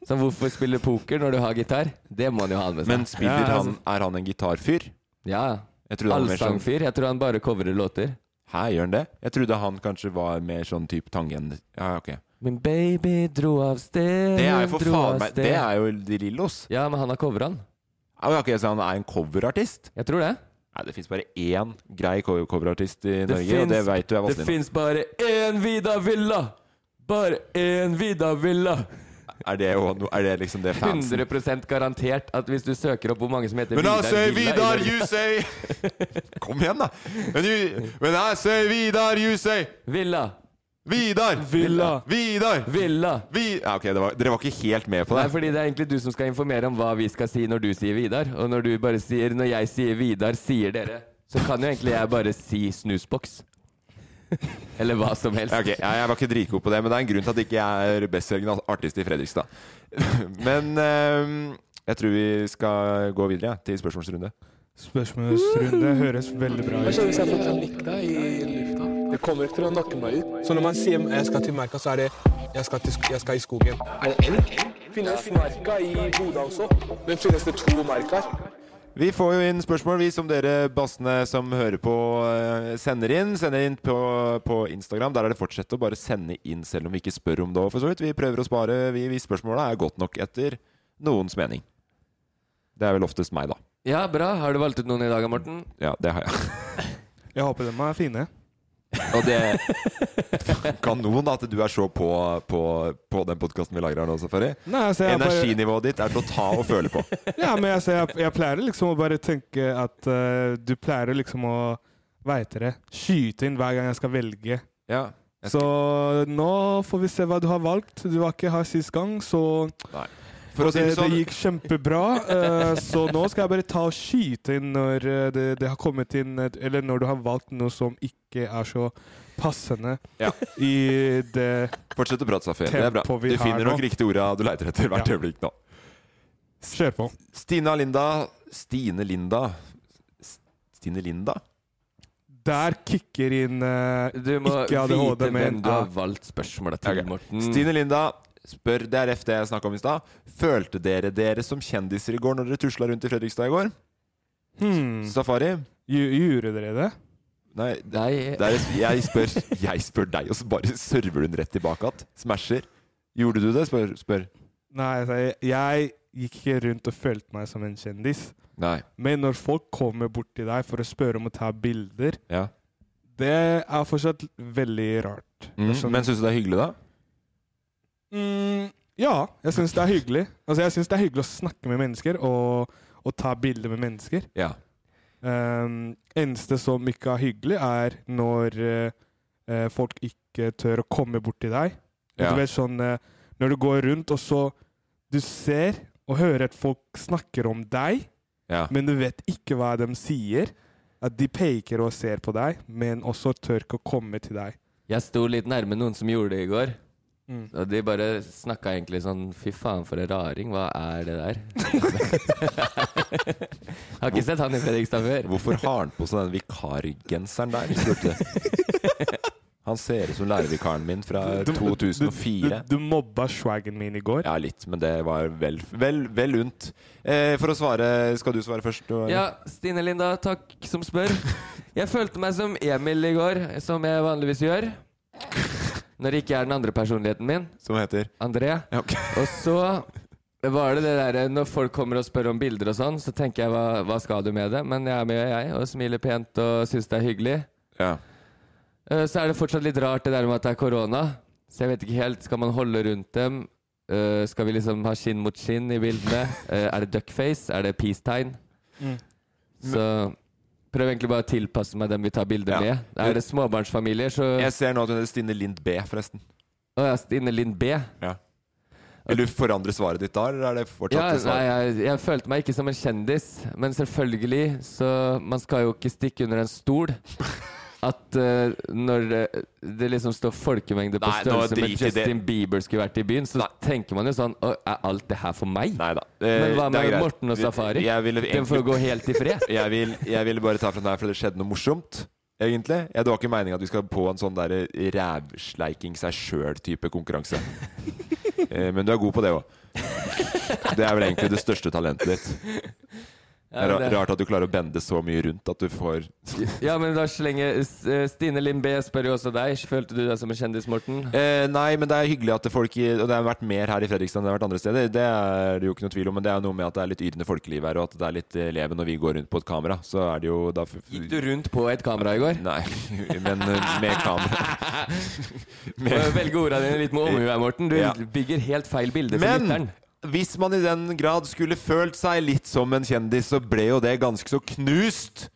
S3: (laughs)
S4: Så hvorfor spille poker når du har gitar? Det må han jo ha med seg.
S3: Men spiller
S1: Ja,
S3: han Er han en gitarfyr?
S4: ja,
S3: Jeg trodde han var mer sånn
S4: Allsangfyr. Jeg tror han bare coverer låter.
S3: Hæ, gjør han det? Jeg trodde han kanskje var mer sånn type tangen... Ja, ok.
S4: Min baby dro av sted
S3: Det er jo for
S4: dro av
S3: faen meg
S4: sted.
S3: Det er jo De Lillos.
S4: Ja, men han har covra den.
S3: Ja, Ok, Så han er en coverartist?
S4: Jeg tror det.
S3: Nei, det fins bare én grei co- coverartist i Norge, og det
S4: finnes-
S3: veit du er
S4: Det
S3: Vazelina.
S4: fins bare én Vidar Villa! Bare én Vidar Villa!
S3: Er, det jo no- er det liksom det fansen
S4: 100 garantert at hvis du søker opp hvor mange som heter
S3: Men jeg sier
S4: Villa i
S3: Vidar,
S4: Norge-
S3: you say Kom igjen, da. Men, you, men jeg sier Vidar, you say
S4: Villa!
S3: Vidar!
S1: Villa.
S3: Vidar!
S4: Villa!
S3: Vi ja, ok, det var, dere var ikke helt med på
S4: Nei,
S3: det.
S4: fordi det er egentlig du som skal informere om hva vi skal si når du sier Vidar. Og når du bare sier Når jeg sier Vidar, sier dere. Så kan jo egentlig jeg bare si snusboks. Eller hva som helst.
S3: Ok, jeg, jeg var ikke dritgod på det, men det er en grunn til at ikke jeg er bestselgende artist i Fredrikstad. (laughs) Men ehm, jeg tror vi skal gå videre ja, til spørsmålsrunde.
S1: Spørsmålsrunde høres veldig bra ut.
S5: Hvis jeg får panikka i lufta Det kommer ikke til å nakke meg ut. Så når man sier 'jeg skal til merka', så er det 'jeg skal, til, sk- jeg skal i skogen'. Er det elg? Finnes merka i Bodø også? Men finnes det to merker?
S3: Vi får jo inn spørsmål, vi som dere bassene som hører på, eh, sender inn. Sender inn på, på Instagram. Der er det fortsett å bare sende inn, selv om vi ikke spør om det. for så vidt. Vi prøver å spare vi, vi Spørsmåla er godt nok etter noens mening. Det er vel oftest meg, da.
S4: Ja, bra. Har du valgt ut noen i dag, Morten?
S3: Ja, det har jeg.
S1: (laughs) Jeg håper de er fine.
S3: Og det Kanon at du er så på, på, på den podkasten vi lager her nå, Safari.
S1: Nei, altså, jeg bare-
S3: Energinivået ditt er til å ta og føle på.
S1: Ja, men altså, jeg, jeg pleier liksom å bare tenke at eh, du pleier liksom å Veit dere. Skyte inn hver gang jeg skal velge.
S3: Ja. Jeg
S1: Så nå får vi se hva du har valgt. Du var ikke her sist gang, så
S3: For å si
S1: det,
S3: det
S1: det
S3: sånn,
S1: gikk kjempebra. eh, så nå skal jeg bare ta og skyte inn når eh, det, det har kommet inn et- Eller når du har valgt noe som ikke er så passende
S3: Ja.
S1: i det
S3: fortsett å prate, Safari. Det er bra.
S1: Tempo
S3: Du
S1: vi har
S3: finner nok
S1: nå.
S3: riktige orda du leiter etter hvert
S1: Ja.
S3: øyeblikk nå.
S1: Kjør på.
S3: Stina Linda Stine Linda S- Stine Linda?
S1: Der kicker inn eh,
S4: Du må
S1: Ikke ADHD,
S4: vite hvem
S1: men-
S4: du har
S1: Ja.
S4: valgt spørsmålet til,
S3: Ok.
S4: Morten.
S3: Stine Linda spør Det er FD jeg snakka om i stad. Følte dere dere som kjendiser i går når dere tusla rundt i Fredrikstad i går?
S1: hmm,
S3: Safari?
S1: gj- Gjorde dere det?
S3: Nei,
S4: Nei,
S3: Det er, jeg, spør, jeg spør deg, og så bare server hun rett tilbake igjen. Smasher. Gjorde du det? Spør. spør.
S1: Nei, altså, jeg, jeg gikk ikke rundt og følte meg som en kjendis.
S3: Nei.
S1: Men når folk kommer bort til deg for å spørre om å ta bilder,
S3: Ja.
S1: det er fortsatt veldig rart.
S3: Mm.
S1: Det er sånn-
S3: Men syns du det er hyggelig, da?
S1: Mm, ja, jeg syns det er hyggelig. Altså, jeg syns det er hyggelig å snakke med mennesker og, og ta bilder med mennesker.
S3: Ja.
S1: Um, eneste som ikke er hyggelig, er når eh, eh, folk ikke tør å komme bort til deg. Og
S3: Ja.
S1: Du vet sånn eh, Når du går rundt, og så Du ser og hører at folk snakker om deg,
S3: ja.
S1: men du vet ikke hva de sier. At de peker og ser på deg, men også tør ikke å komme til deg.
S4: jeg sto litt nærme noen som gjorde det i går.
S1: Mm.
S4: Og de bare snakka egentlig sånn Fy faen, for en raring. Hva er det
S3: (laughs)
S4: der? har ikke sett han i Fredrikstad før.
S3: Hvorfor har han på seg den vikargenseren der? spurte jeg. (laughs) Han ser ut som lærervikaren min fra
S1: Du- du- Du,
S3: 2004.
S1: du mobba swagen min i går.
S3: Ja, litt, men det var vel, vel, vel unt. Eh, for å svare Skal du svare først? Du,
S4: Ja, Stine Linda, takk som spør. Jeg følte meg som Emil i går, som jeg vanligvis gjør. Når det ikke er den andre personligheten min,
S3: Som heter
S4: André.
S3: ja, ok.
S4: Og så var det det derre Når folk kommer og spør om bilder og sånn, så tenker jeg hva, hva skal du med det? Men jeg er med, jeg, og smiler pent og syns det er hyggelig.
S3: ja.
S4: Eh, Så er det fortsatt litt rart det der med at det er korona. Så jeg vet ikke helt. Skal man holde rundt dem? Eh, skal vi liksom ha skinn mot skinn i bildene? Eh, er det duckface? Er det peace-tegn?
S1: Mm.
S4: Så prøv egentlig bare å tilpasse meg dem vi tar bilder
S3: Ja.
S4: med. Er det småbarnsfamilier, så
S3: Jeg ser nå at hun heter Stine Lind B, forresten.
S4: Å ja, Stine Lind B.
S3: Vil du forandre svaret ditt da, eller er det fortsatt
S4: Ja,
S3: det
S4: nei,
S3: svaret?
S4: jeg, jeg følte meg ikke som en kjendis, men selvfølgelig, så man skal jo ikke stikke under en stol. At eh, når eh, det liksom står folkemengde på
S3: Nei, nå
S4: størrelse med
S3: drit i det.
S4: Justin Bieber skulle vært i byen, så
S3: Nei.
S4: tenker man jo sånn «Å, Er alt det her for meg?
S3: Nei da.
S4: Men hva med Morten og Safari?
S3: Jeg ville,
S4: Den får
S3: egentlig,
S4: gå helt i fred.
S3: (laughs) jeg, vil, jeg ville bare ta fra den her, for det skjedde noe morsomt. Egentlig. Ja, det var ikke meninga at vi skal på en sånn der rævsleiking seg sjøl-type
S4: (laughs)
S3: konkurranse. Eh, Men du er god på det òg. Det er vel egentlig det største talentet ditt. Det er
S4: Ja,
S3: ra-
S4: det-
S3: rart at du klarer å bende så mye rundt at du får
S4: ja, men da slenger S- eh, Stine Lind B spør jo også deg. Følte du deg som en kjendis, Morten?
S3: Eh, nei, men det er hyggelig at det folk i, Og det har vært mer her i Fredrikstad enn det har vært andre steder. Det er det jo ikke noe tvil om, men det er jo noe med at det er litt yrende folkeliv her, og at det er litt eh, leven når vi går rundt på et kamera. Så er det jo da f-
S4: Gikk du rundt på et kamera i går?
S3: Nei, (laughs) men eh, med kamera.
S4: (laughs) Må jo velge ordene dine litt med omhu her, Morten. Du
S3: Ja.
S4: bygger helt feil bilde for lytteren.
S3: Men hvis man i den grad skulle følt seg litt som en kjendis, så ble jo det ganske så knust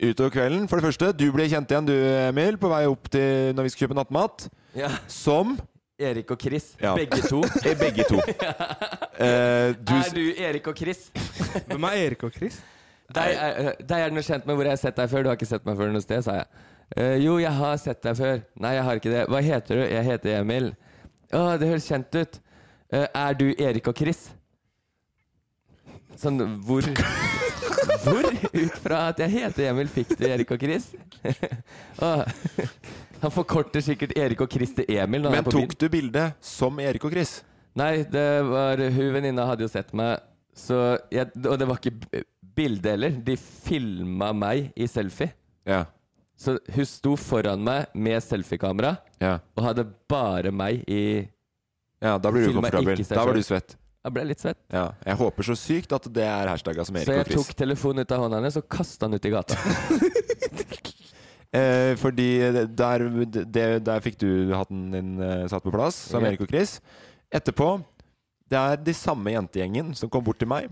S3: utover kvelden. For det første, du ble kjent igjen du, Emil, på vei opp til når vi skulle kjøpe nattmat.
S4: Ja.
S3: Som
S4: Erik og Chris,
S3: Ja.
S4: begge to.
S3: (laughs) eh, begge
S4: (laughs)
S3: to. Eh, du,
S4: Er du Erik og Chris?
S1: Hvem er Erik og Chris?
S4: Deg er, eh, deg er du noe kjent med hvor jeg har sett deg før. Du har ikke sett meg før noe sted, sa jeg. «Eh, jo, jeg har sett deg før. Nei, jeg har ikke det. Hva heter du? Jeg heter Emil. Å, det høres kjent ut. «Eh, er du Erik og Chris? Sånn, (laughs) hvor Hvor? Ut fra at jeg heter Emil, fikk du Erik og Chris? (laughs) Å, han forkorter sikkert Erik og Chris til Emil når han
S3: men
S4: er på byen.
S3: tok du bildet som Erik og Chris?
S4: Nei, det var hun venninna hadde jo sett meg, så jeg, og det var ikke b- bilde heller. De filma meg i selfie.
S3: Ja.
S4: Så hun sto foran meg med selfiekamera
S3: Ja,
S4: og hadde bare meg i
S3: ja da blir du
S4: Filmer
S3: komfortabel.
S4: ikke seg
S3: Da var
S4: selv.
S3: du svett.
S4: Jeg ble litt svett.
S3: Ja. Jeg håper så sykt at det er hashtagga som Erik
S4: Så
S3: og
S4: jeg
S3: Chris.
S4: tok telefonen ut av hånda hennes og kasta den ut i gata.
S3: Eh, fordi der, det, der fikk du hatten din eh, satt på plass, som
S4: Ja.
S3: Erik og Chris. Etterpå Det er de samme jentegjengen som kom bort til meg.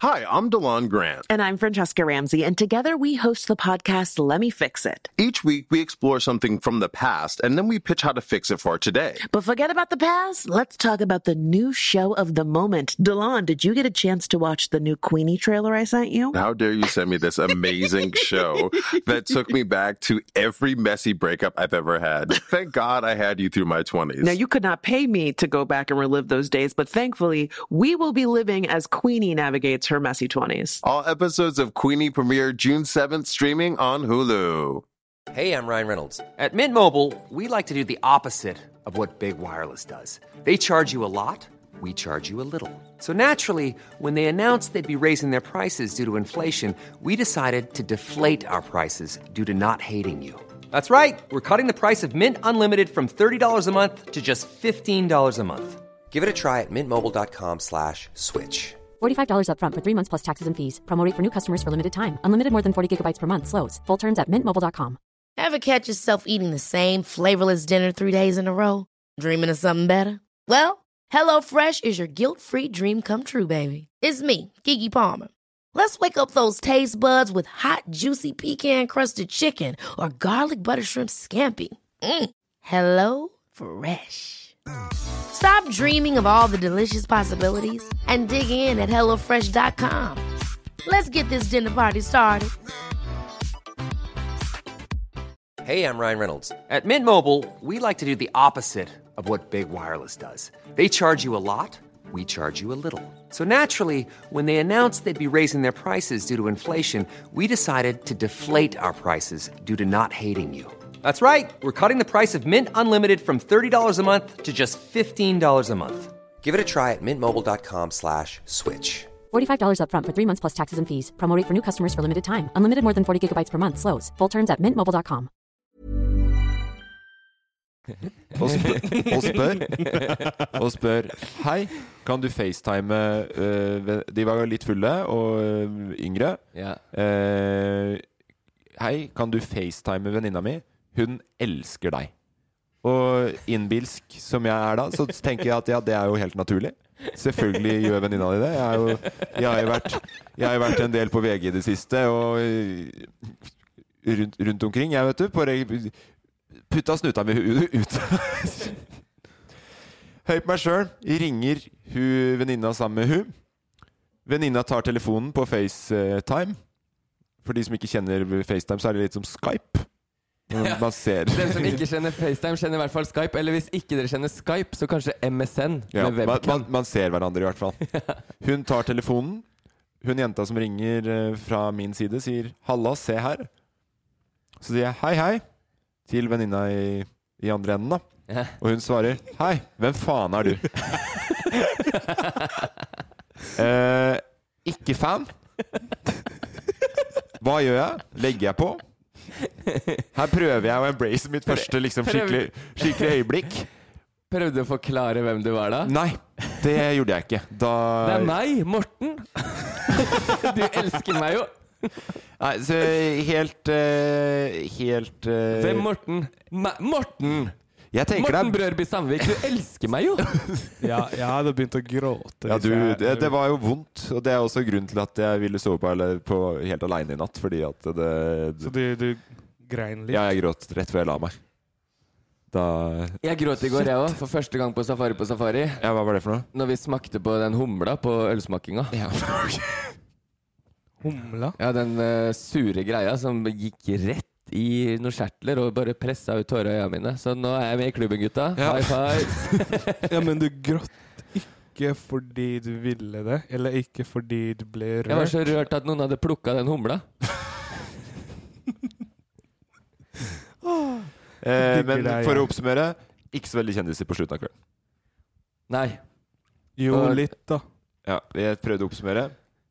S6: Hi, I'm DeLon Grant.
S7: And I'm Francesca Ramsey, and together we host the podcast Let Me Fix It.
S6: Each week, we explore something from the past and then we pitch how to fix it for today.
S7: But forget about the past. Let's talk about the new show of the moment. DeLon, did you get a chance to watch the new Queenie trailer I sent you?
S6: How dare you send me this
S7: (laughs)
S6: amazing show that took me back to every messy breakup I've ever had? Thank God I had you through my 20s.
S7: Now, you could not pay me to go back and relive those days, but thankfully, we will be living as Queenie navigates her messy 20s.
S6: All episodes of Queenie premiere June 7th, streaming on Hulu.
S8: Hey, I'm Ryan Reynolds. At Mint Mobile, we like to do the opposite of what Big Wireless does. They charge you a lot, we charge you a little. So naturally, when they announced they'd be raising their prices due to inflation, we decided to deflate our prices due to not hating you. That's right. We're cutting the price of Mint Unlimited from $30 a month to just $15 a month. Give it a try at mintmobile.com slash switch.
S9: $45 upfront for three months plus taxes and fees. Promo rate for new customers for limited time. Unlimited more than 40 gigabytes per month. Slows. Full terms at mintmobile.com.
S10: Ever catch yourself eating the same flavorless dinner three days in a row? Dreaming of something better? Well, HelloFresh is your guilt free dream come true, baby. It's me, Gigi Palmer. Let's wake up those taste buds with hot, juicy pecan crusted chicken or garlic butter shrimp scampi. Mm. Hello Fresh. Stop dreaming of all the delicious possibilities and dig in at HelloFresh.com. Let's get this dinner party started.
S8: Hey, I'm Ryan Reynolds. At Mint Mobile, we like to do the opposite of what Big Wireless does. They charge you a lot, we charge you a little. So naturally, when they announced they'd be raising their prices due to inflation, we decided to deflate our prices due to not hating you. That's right. We're cutting the price of Mint Unlimited from $30 a month to just $15 a month. Give it a try at mintmobile.com slash switch.
S9: $45 upfront for three months plus taxes and fees. Promo rate for new customers for limited time. Unlimited more than 40 gigabytes per month. Slows. Full terms at mintmobile.com.
S3: Og spør, og spør, og spør Hei, kan du facetime eh, ven- De var jo litt fulle og eh, yngre.
S4: Ja.
S3: Eh, hei, kan du facetime venninna mi? Hun elsker deg. Og innbilsk som jeg er da, så tenker jeg at ja, det er jo helt naturlig. Selvfølgelig gjør venninna di det. Jeg, er jo, jeg, har jo vært, jeg har jo vært en del på VG i det siste, og rundt, rundt omkring, jeg, vet du. På reg- putta snuta mi hu- ut. Høy på meg sjøl. Ringer hun venninna sammen med hun. Venninna tar telefonen på FaceTime. For de som ikke kjenner FaceTime, så er det litt som
S4: (laughs)
S3: Skype.
S4: Ja.
S3: Man ser
S4: Den som ikke kjenner FaceTime, kjenner i hvert fall Skype. Eller hvis ikke dere kjenner Skype, så kanskje MSN
S3: Ja,
S4: med
S3: man,
S4: webcam.
S3: man, man ser hverandre i hvert
S4: (laughs)
S3: fall. Hun tar telefonen. Hun jenta som ringer eh, fra min side, sier 'halla, se her'. Så sier jeg 'hei, hei' til venninna i, i andre enden, da.
S4: Ja.
S3: Og hun svarer 'hei, hvem faen
S4: (laughs)
S3: er du'? eh, ikke fan. Hva gjør jeg? Legger jeg på? Her prøver jeg å embrace mitt første liksom, skikkelig, skikkelig øyeblikk.
S4: Prøvde du å forklare hvem du var da?
S3: Nei, det gjorde jeg ikke. Da
S4: Det er meg, Morten! (laughs) du elsker meg jo.
S3: Nei, så helt eh, Helt eh,
S4: Hvem Morten? Ma Morten!
S3: Jeg tenker
S4: Morten
S3: det er-
S4: Brørby Sandvik, du elsker meg jo!
S1: Ja, jeg hadde begynt å gråte.
S3: ja,
S1: hvis
S3: du,
S1: jeg-
S3: det, det var jo vondt, og det er også grunnen til at jeg ville sove på, eller på helt aleine i natt. Fordi at det,
S1: Så du, du grein litt?
S3: Ja, jeg gråt rett før jeg la meg. Da
S4: (laughs) Jeg gråt i går, jeg òg. For første gang på Safari på Safari.
S3: Ja, Hva var det for noe?
S4: Når vi smakte på den humla på ølsmakinga.
S3: Ja,
S1: Humla?
S4: Ja, den eh, sure greia som gikk rett i noen skjertler og bare pressa ut tårer i øynene mine. Så nå er jeg med i klubben, gutta.
S3: Ja.
S4: High (laughs) five.
S1: Ja, men du gråt ikke fordi du ville det, eller ikke fordi du ble
S4: Jeg var
S1: rørt.
S4: så rørt at noen hadde plukka den humla.
S3: Eh,
S1: Digger
S3: men
S1: deg,
S3: for
S1: ja.
S3: å oppsummere ikke så veldig kjendiser på slutten av kvelden.
S4: Nei.
S1: Jo,
S4: Og-
S1: litt, da.
S3: Ja, jeg prøvde å oppsummere.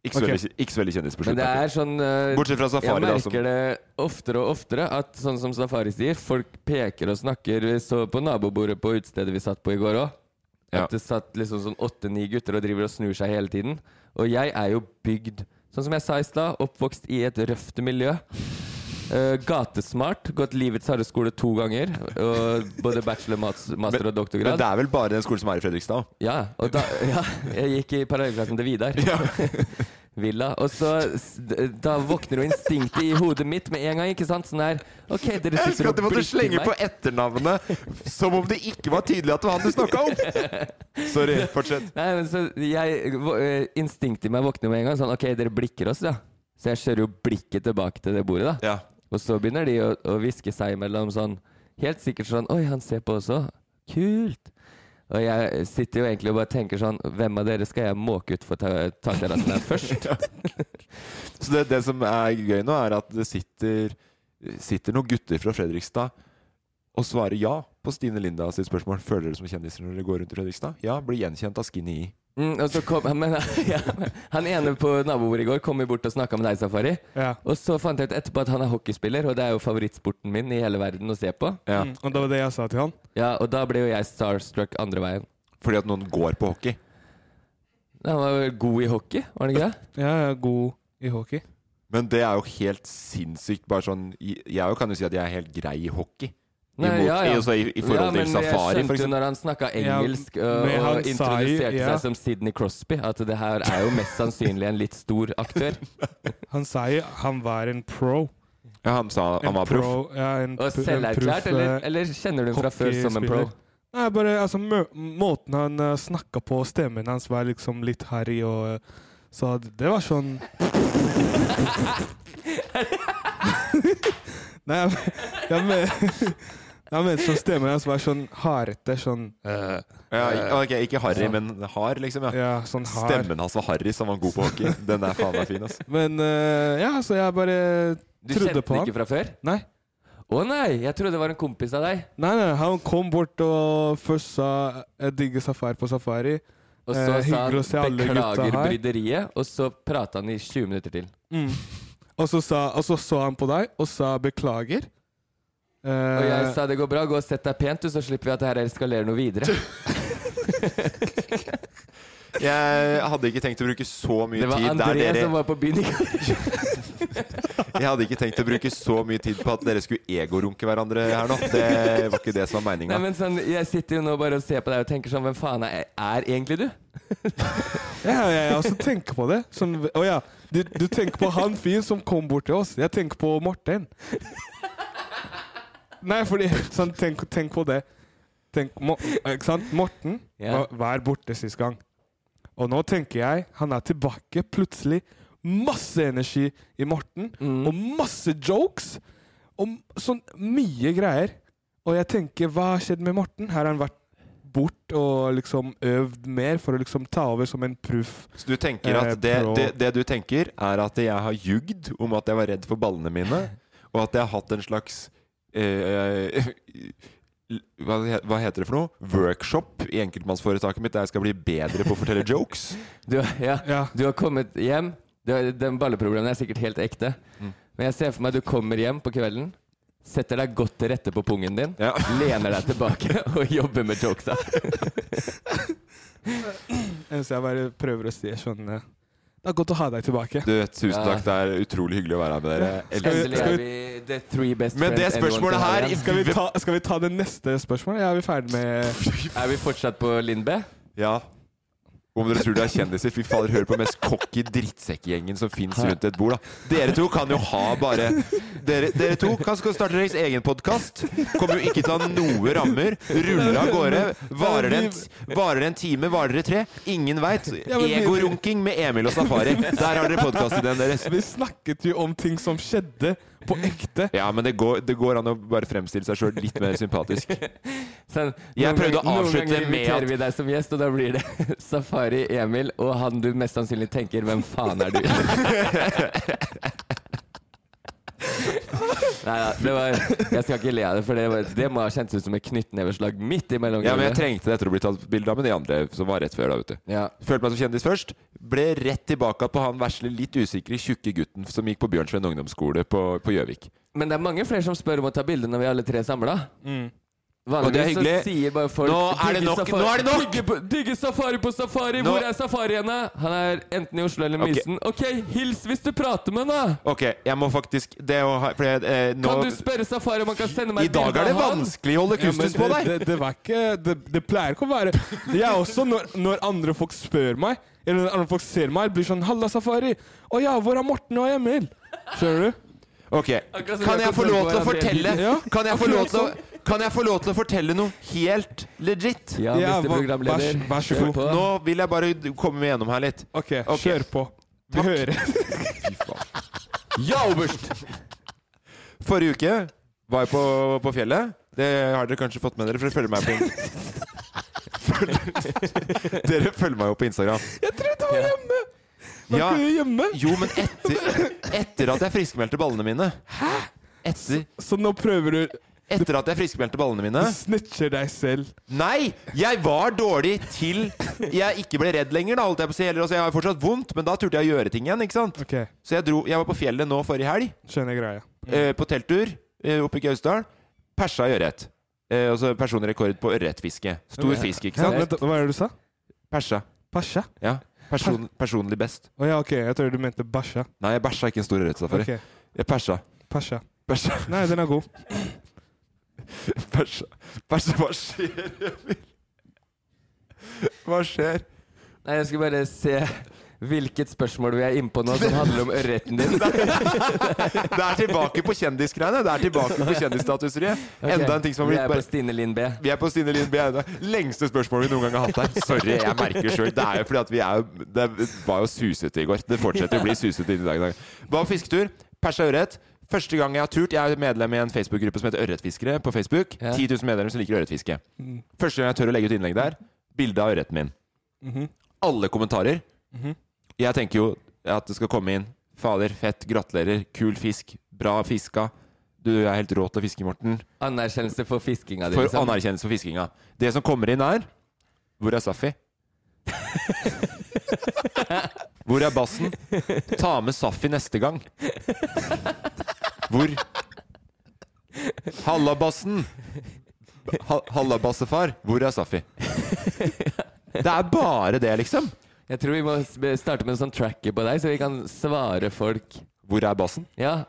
S3: Ikke så
S1: Ok.
S3: veldig, ikke så veldig kjendis på
S4: Men
S3: slutten.
S4: det
S3: av kvelden.
S4: er sånn eh,
S3: Bortsett fra Safari,
S4: Jeg
S3: da, altså. som-
S4: merker det oftere og oftere at sånn som Safari sier, folk peker og snakker. Vi så på nabobordet på utestedet vi satt på i går òg.
S3: Ja.
S4: At det satt liksom sånn åtte-ni gutter og driver og snur seg hele tiden. Og jeg er jo bygd, sånn som jeg sa i stad, oppvokst i et røft miljø. Eh, gatesmart. Gått livets harde skole to ganger. Og både bachelor, mas- master og
S3: Men
S4: doktorgrad.
S3: det er vel bare den skolen som er i Fredrikstad?
S4: Ja, og da, (laughs) ja, jeg gikk i parallellklassen til Vidar. (laughs) Villa. Og så s- d- Da våkner jo instinktet i hodet mitt med en gang. ikke sant? Sånn her Ok,
S3: Jeg
S4: dere sitter
S3: elsker
S4: og
S3: at du måtte
S4: blikker
S3: slenge på
S4: meg.
S3: etternavnet som om det ikke var tydelig at det var han du snakka om! (laughs) Sorry, fortsett.
S4: Nei, men så jeg, vå- eh, Instinktet i meg våkner med en gang. Sånn Ok, dere blikker oss, ja. Så jeg kjører jo blikket tilbake til det bordet, da.
S3: Ja.
S4: Og så begynner de å, å hviske seg imellom sånn Helt sikkert sånn Oi, han ser på også. Kult. Og jeg sitter jo egentlig og bare tenker sånn Hvem av dere skal jeg måke utfor ta- takterrassen her først?
S3: Så det, det som er gøy nå, er at det sitter, sitter noen gutter fra Fredrikstad og svarer ja på Stine Linda sitt spørsmål. Føler dere som kjendiser når dere går rundt i Fredrikstad? Ja, blir gjenkjent av Skinny E.
S4: Mm, og så kom, (laughs) men, ja, han ene på nabobordet i går kom jo bort og snakka med deg, Safari.
S1: Ja.
S4: Og så fant jeg ut etterpå at han er hockeyspiller, og det er jo favorittsporten min i hele verden å se på.
S3: Ja.
S1: Mm, og det var det jeg sa til han.
S4: Ja, Og da ble jo jeg starstruck andre veien.
S3: Fordi at noen går på hockey.
S4: Han var jo god i hockey, var han ikke det?
S1: Jeg er god i hockey.
S3: Men det er jo helt sinnssykt. Bare sånn Jeg kan jo si at jeg er helt grei i hockey. I,
S4: Nei,
S3: mot,
S4: ja, ja.
S3: i, også i, I forhold
S4: ja, men
S3: til safari,
S4: jeg
S3: for
S4: skjønte
S3: eksempel.
S4: når han snakka
S1: Ja,
S4: engelsk ø,
S1: men
S4: og
S1: han sa jo-
S4: introduserte
S1: ja.
S4: seg som Sidney Crosby, at det her er jo mest sannsynlig en litt stor aktør.
S1: Han sa jo han var en pro.
S3: Ja, han sa
S1: En
S3: han var proff.
S1: Ja, en,
S4: Og
S1: pr- en
S4: selverklært,
S1: proff,
S4: eller,
S1: eh,
S4: eller kjenner du ham fra før som en pro?
S1: hockeyspiller. Nei, bare altså, mø Måten han uh, snakka på, stemmen hans var liksom litt harry, og eh, så det, det var sånn (laughs) Nei, jeg, jeg, men, (laughs) jeg mente sånn stemmen hans var sånn hardete, sånn eh,
S3: Ja, ok, ikke harry,
S1: sånn.
S3: men hard, liksom. Ja.
S1: Ja, sånn hard.
S3: Stemmen hans var harry, så han var god på hockey. Den er faen meg fin, ass.
S1: Men eh, ja, så jeg bare
S4: Du
S1: trodde
S4: kjente
S1: på
S4: ham
S1: han.
S4: ikke fra før?
S1: Nei.
S4: Å nei, jeg trodde det var en kompis av deg.
S1: nei, nei, han kom bort og først sa 'jeg digger safari på safari'.
S4: Og
S1: Eh,
S4: så sa
S1: hyggelig å se
S4: han
S1: alle gutta
S4: 'beklager
S1: her».
S4: bryderiet', og så prata han i 20 minutter til.
S1: Og så, sa, og så så han på deg og sa 'beklager'. Eh,
S4: Og jeg sa 'det går bra, gå og sett deg pent, du, så slipper vi at det her eskalerer noe
S1: (laughs)
S4: videre'.
S3: Jeg hadde ikke tenkt å bruke så mye
S4: Det var
S3: tid der
S4: André
S3: dere
S1: (laughs)
S4: som var på byen i går.
S3: Jeg hadde ikke tenkt å bruke så mye tid på at dere skulle egorunke hverandre her nå. Det var ikke det som var
S4: Nei,
S3: meninga.
S4: men sånn, jeg sitter jo nå bare og ser på deg og tenker sånn Hvem faen er, er egentlig du?
S1: Ja, ja, jeg også tenker på det. Sånn, å ja, du, du tenker på han fyren som kom bort til oss. Jeg tenker på Morten. Nei, fordi sånn, tenk, tenk på det. Tenk, Mo, ikke sant? Morten
S4: Ja.
S1: var, var borte sist gang. Og nå tenker jeg han er tilbake. Plutselig masse energi i Morten,
S4: Mm.
S1: og masse jokes. Og m- sånn mye greier. Og jeg tenker, hva har skjedd med Morten? Her har han vært bort og liksom øvd mer for å liksom ta over som en proff.
S3: Så du tenker at det, det, det du tenker, er at jeg har jugd om at jeg var redd for ballene mine, og at jeg har hatt en slags eh, (laughs) hva, he- hva heter det for noe? Workshop i enkeltmannsforetaket mitt der jeg skal bli bedre på å fortelle jokes.
S4: Du, ja, du har kommet hjem. Du, har- den balleproblemen er sikkert helt ekte.
S1: Mm.
S4: Men jeg ser for meg at du kommer hjem på kvelden, setter deg godt til rette på pungen din, lener deg tilbake (laughs) og jobber med jokesa.
S1: Eneste jeg bare prøver å si, jeg skjønner Det er godt å ha deg tilbake.
S3: Du, tusen takk, det er utrolig hyggelig å være her med dere. Jeg elsker
S4: Endelig
S3: dere.
S4: er vi the three best
S3: Men det
S4: friends anyone
S3: spørsmålet
S4: can have
S3: her-
S4: igjen.
S1: Skal vi, ta, skal vi ta det neste spørsmålet? Ja, er vi ferdig med
S4: Er vi fortsatt på Lindbæ?
S3: Ja. Om dere tror dere er kjendiser, fy fader, hør på den mest cocky drittsekkgjengen som fins rundt et bord, da. Dere to kan jo ha bare Dere, dere to kan skal starte deres egen podkast. Kommer jo ikke til å ha noen rammer. Rulle av gårde. Varer det en, t- varer det en time, varer det tre? Ingen veit. Egorunking med Emil og Safari. Der har dere podkastideen deres.
S1: Vi snakket jo om ting som skjedde på ekte.
S3: Ja, men det går, det går an å bare fremstille seg sjøl litt mer sympatisk.
S4: Sånn,
S3: Jeg
S4: noen
S3: prøvde
S4: ganger-
S3: å avslutte
S4: Noen ganger
S3: med at-
S4: inviterer vi deg som gjest, og da blir det (laughs) Safari, Emil og han du mest sannsynlig tenker 'Hvem faen er du?' (laughs) Nei da, det var Jeg skal ikke le av det, for det, var, det må ha kjentes ut som et knyttneveslag midt imellom.
S3: Ja, men jeg
S4: gulvet.
S3: trengte det etter å bli tatt bilde av med de andre som var rett før. da, vet du
S4: Ja.
S3: Følte meg som kjendis først. Ble rett tilbake på han vesle, litt usikre, tjukke gutten som gikk på Bjørnsven ungdomsskole på på Gjøvik.
S4: Men det er mange flere som spør om å ta bilde når vi alle tre samla.
S3: Mm. Og det er
S4: Vanligvis så
S3: hyggelig.
S4: sier bare folk
S3: Nå er det
S4: «Digger
S3: nok!
S4: safari-
S3: Nå er det nok!»
S4: Digger, på- digger safari på safari!
S3: Nå-
S4: Hvor er safari henne? Han er enten i Oslo eller
S3: Ok.
S4: Mysen. OK, hils hvis du prater med henne!
S3: Ok, jeg må faktisk det å ha, for jeg, eh, nå,
S4: Kan du spørre Safari om han kan sende meg
S3: I dag er det vanskelig å holde kustus på
S1: det,
S3: deg!
S1: det, det, var ikke, det, det pleier ikke å være Jeg også, når, når andre folk spør meg, eller når andre folk ser meg, blir sånn 'Halla, Safari'. 'Å ja, hvor er Morten og Emil?' Skjønner du?
S3: Ok,
S4: Akkurat som
S3: Kan
S4: vi
S3: jeg
S4: har
S3: få
S4: kontroll
S3: lov
S4: på
S3: til å
S4: hverandre hele
S3: fortelle
S4: tiden.
S1: Ja,
S3: Kan jeg få lov til å
S1: akkurat
S4: (laughs)
S3: kan jeg få lov til å fortelle noe helt legit?
S4: Ja,
S1: Ja,
S4: Mr.
S1: hva-
S4: Programleder.
S1: vær- vær så
S4: kjør
S1: god.
S4: på.
S3: Nå vil jeg bare komme meg gjennom her litt.
S1: OK,
S3: Ok.
S1: kjør på. Vi hører.
S3: Ja, oberst! Forrige uke var jeg på, på fjellet. Det har dere kanskje fått med dere, for dere følger meg på in- Følger- (laughs) Dere følger meg jo på Instagram.
S1: (laughs) Jeg trodde du var hjemme! Var
S3: Ja.
S1: ikke du hjemme?
S3: Jo, men etter, etter at jeg friskmeldte ballene mine Etter,
S1: Så nå prøver du
S3: etter at jeg friskmeldte ballene mine
S1: Du snitcher deg selv.
S3: Nei! Jeg var dårlig til jeg ikke ble redd lenger, da, holdt jeg på å si. Eller, altså, jeg har fortsatt vondt, men da turte jeg å gjøre ting igjen, ikke sant?
S1: OK,
S3: Så jeg, dro, jeg var på fjellet nå forrige helg.
S1: skjønner greia.
S3: eh, på telttur eh, oppe i Gausdal. Persa i ørret. Eh, altså personrekord på ørretfiske. Stor fisk, ikke
S1: Hæ,
S3: sant?
S1: vent, Hva er det du sa?
S3: Persa.
S1: Pasja?
S3: Ja. Person, personlig best.
S1: Å ja, OK. Jeg trodde du mente bæsja.
S3: Nei, jeg bæsja ikke en stor ørretsafari.
S1: OK.
S3: Jeg persa.
S1: Pasja.
S3: Persa.
S1: Nei, den er god.
S3: Persa. Persa. Hva skjer, Emil? Hva skjer?
S4: Nei, jeg skulle bare se hvilket spørsmål vi er innpå nå
S3: (laughs)
S4: som handler om ørreten din.
S3: Det er tilbake på kjendisgreiene. Det er tilbake på kjendisstatuseriet. Enda en ting som har blitt
S4: Vi er på
S3: bare
S4: Stine Lind B.
S3: Vi er på Stine Lien Bjerre. Lengste spørsmålet vi noen gang har hatt her. Sorry, jeg merker sjøl. Det er jo fordi at vi er jo Det var jo susete i går. Det fortsetter å bli susete i dag. i dag. Var på fisketur. Persa ørret. Første gang jeg har turt Jeg er medlem i en Facebook-gruppe som heter Ørretfiskere på Facebook.
S4: Ja.
S3: 10 000 medlemmer som liker ørretfiske. Første gang jeg tør å legge ut innlegg der, bilde av ørreten min. Alle kommentarer. Jeg tenker jo at det skal komme inn Fader, fett, gratulerer, kul fisk, bra fiska. Du er helt rå til å fiske, Morten.
S4: Anerkjennelse for fiskinga di.
S3: For
S4: liksom.
S3: anerkjennelse for fiskinga. Det som kommer inn, er Hvor er
S4: (laughs)
S3: Safi? Hvor er bassen? Ta med Safi neste gang. Hvor? Halla, bassen! Ha Halla, bassefar. Hvor er Safi? Det er bare det, liksom.
S4: Jeg tror vi må s- be- starte med en sånn tracker på deg, så vi kan svare folk
S3: Hvor er bassen?
S4: Ja.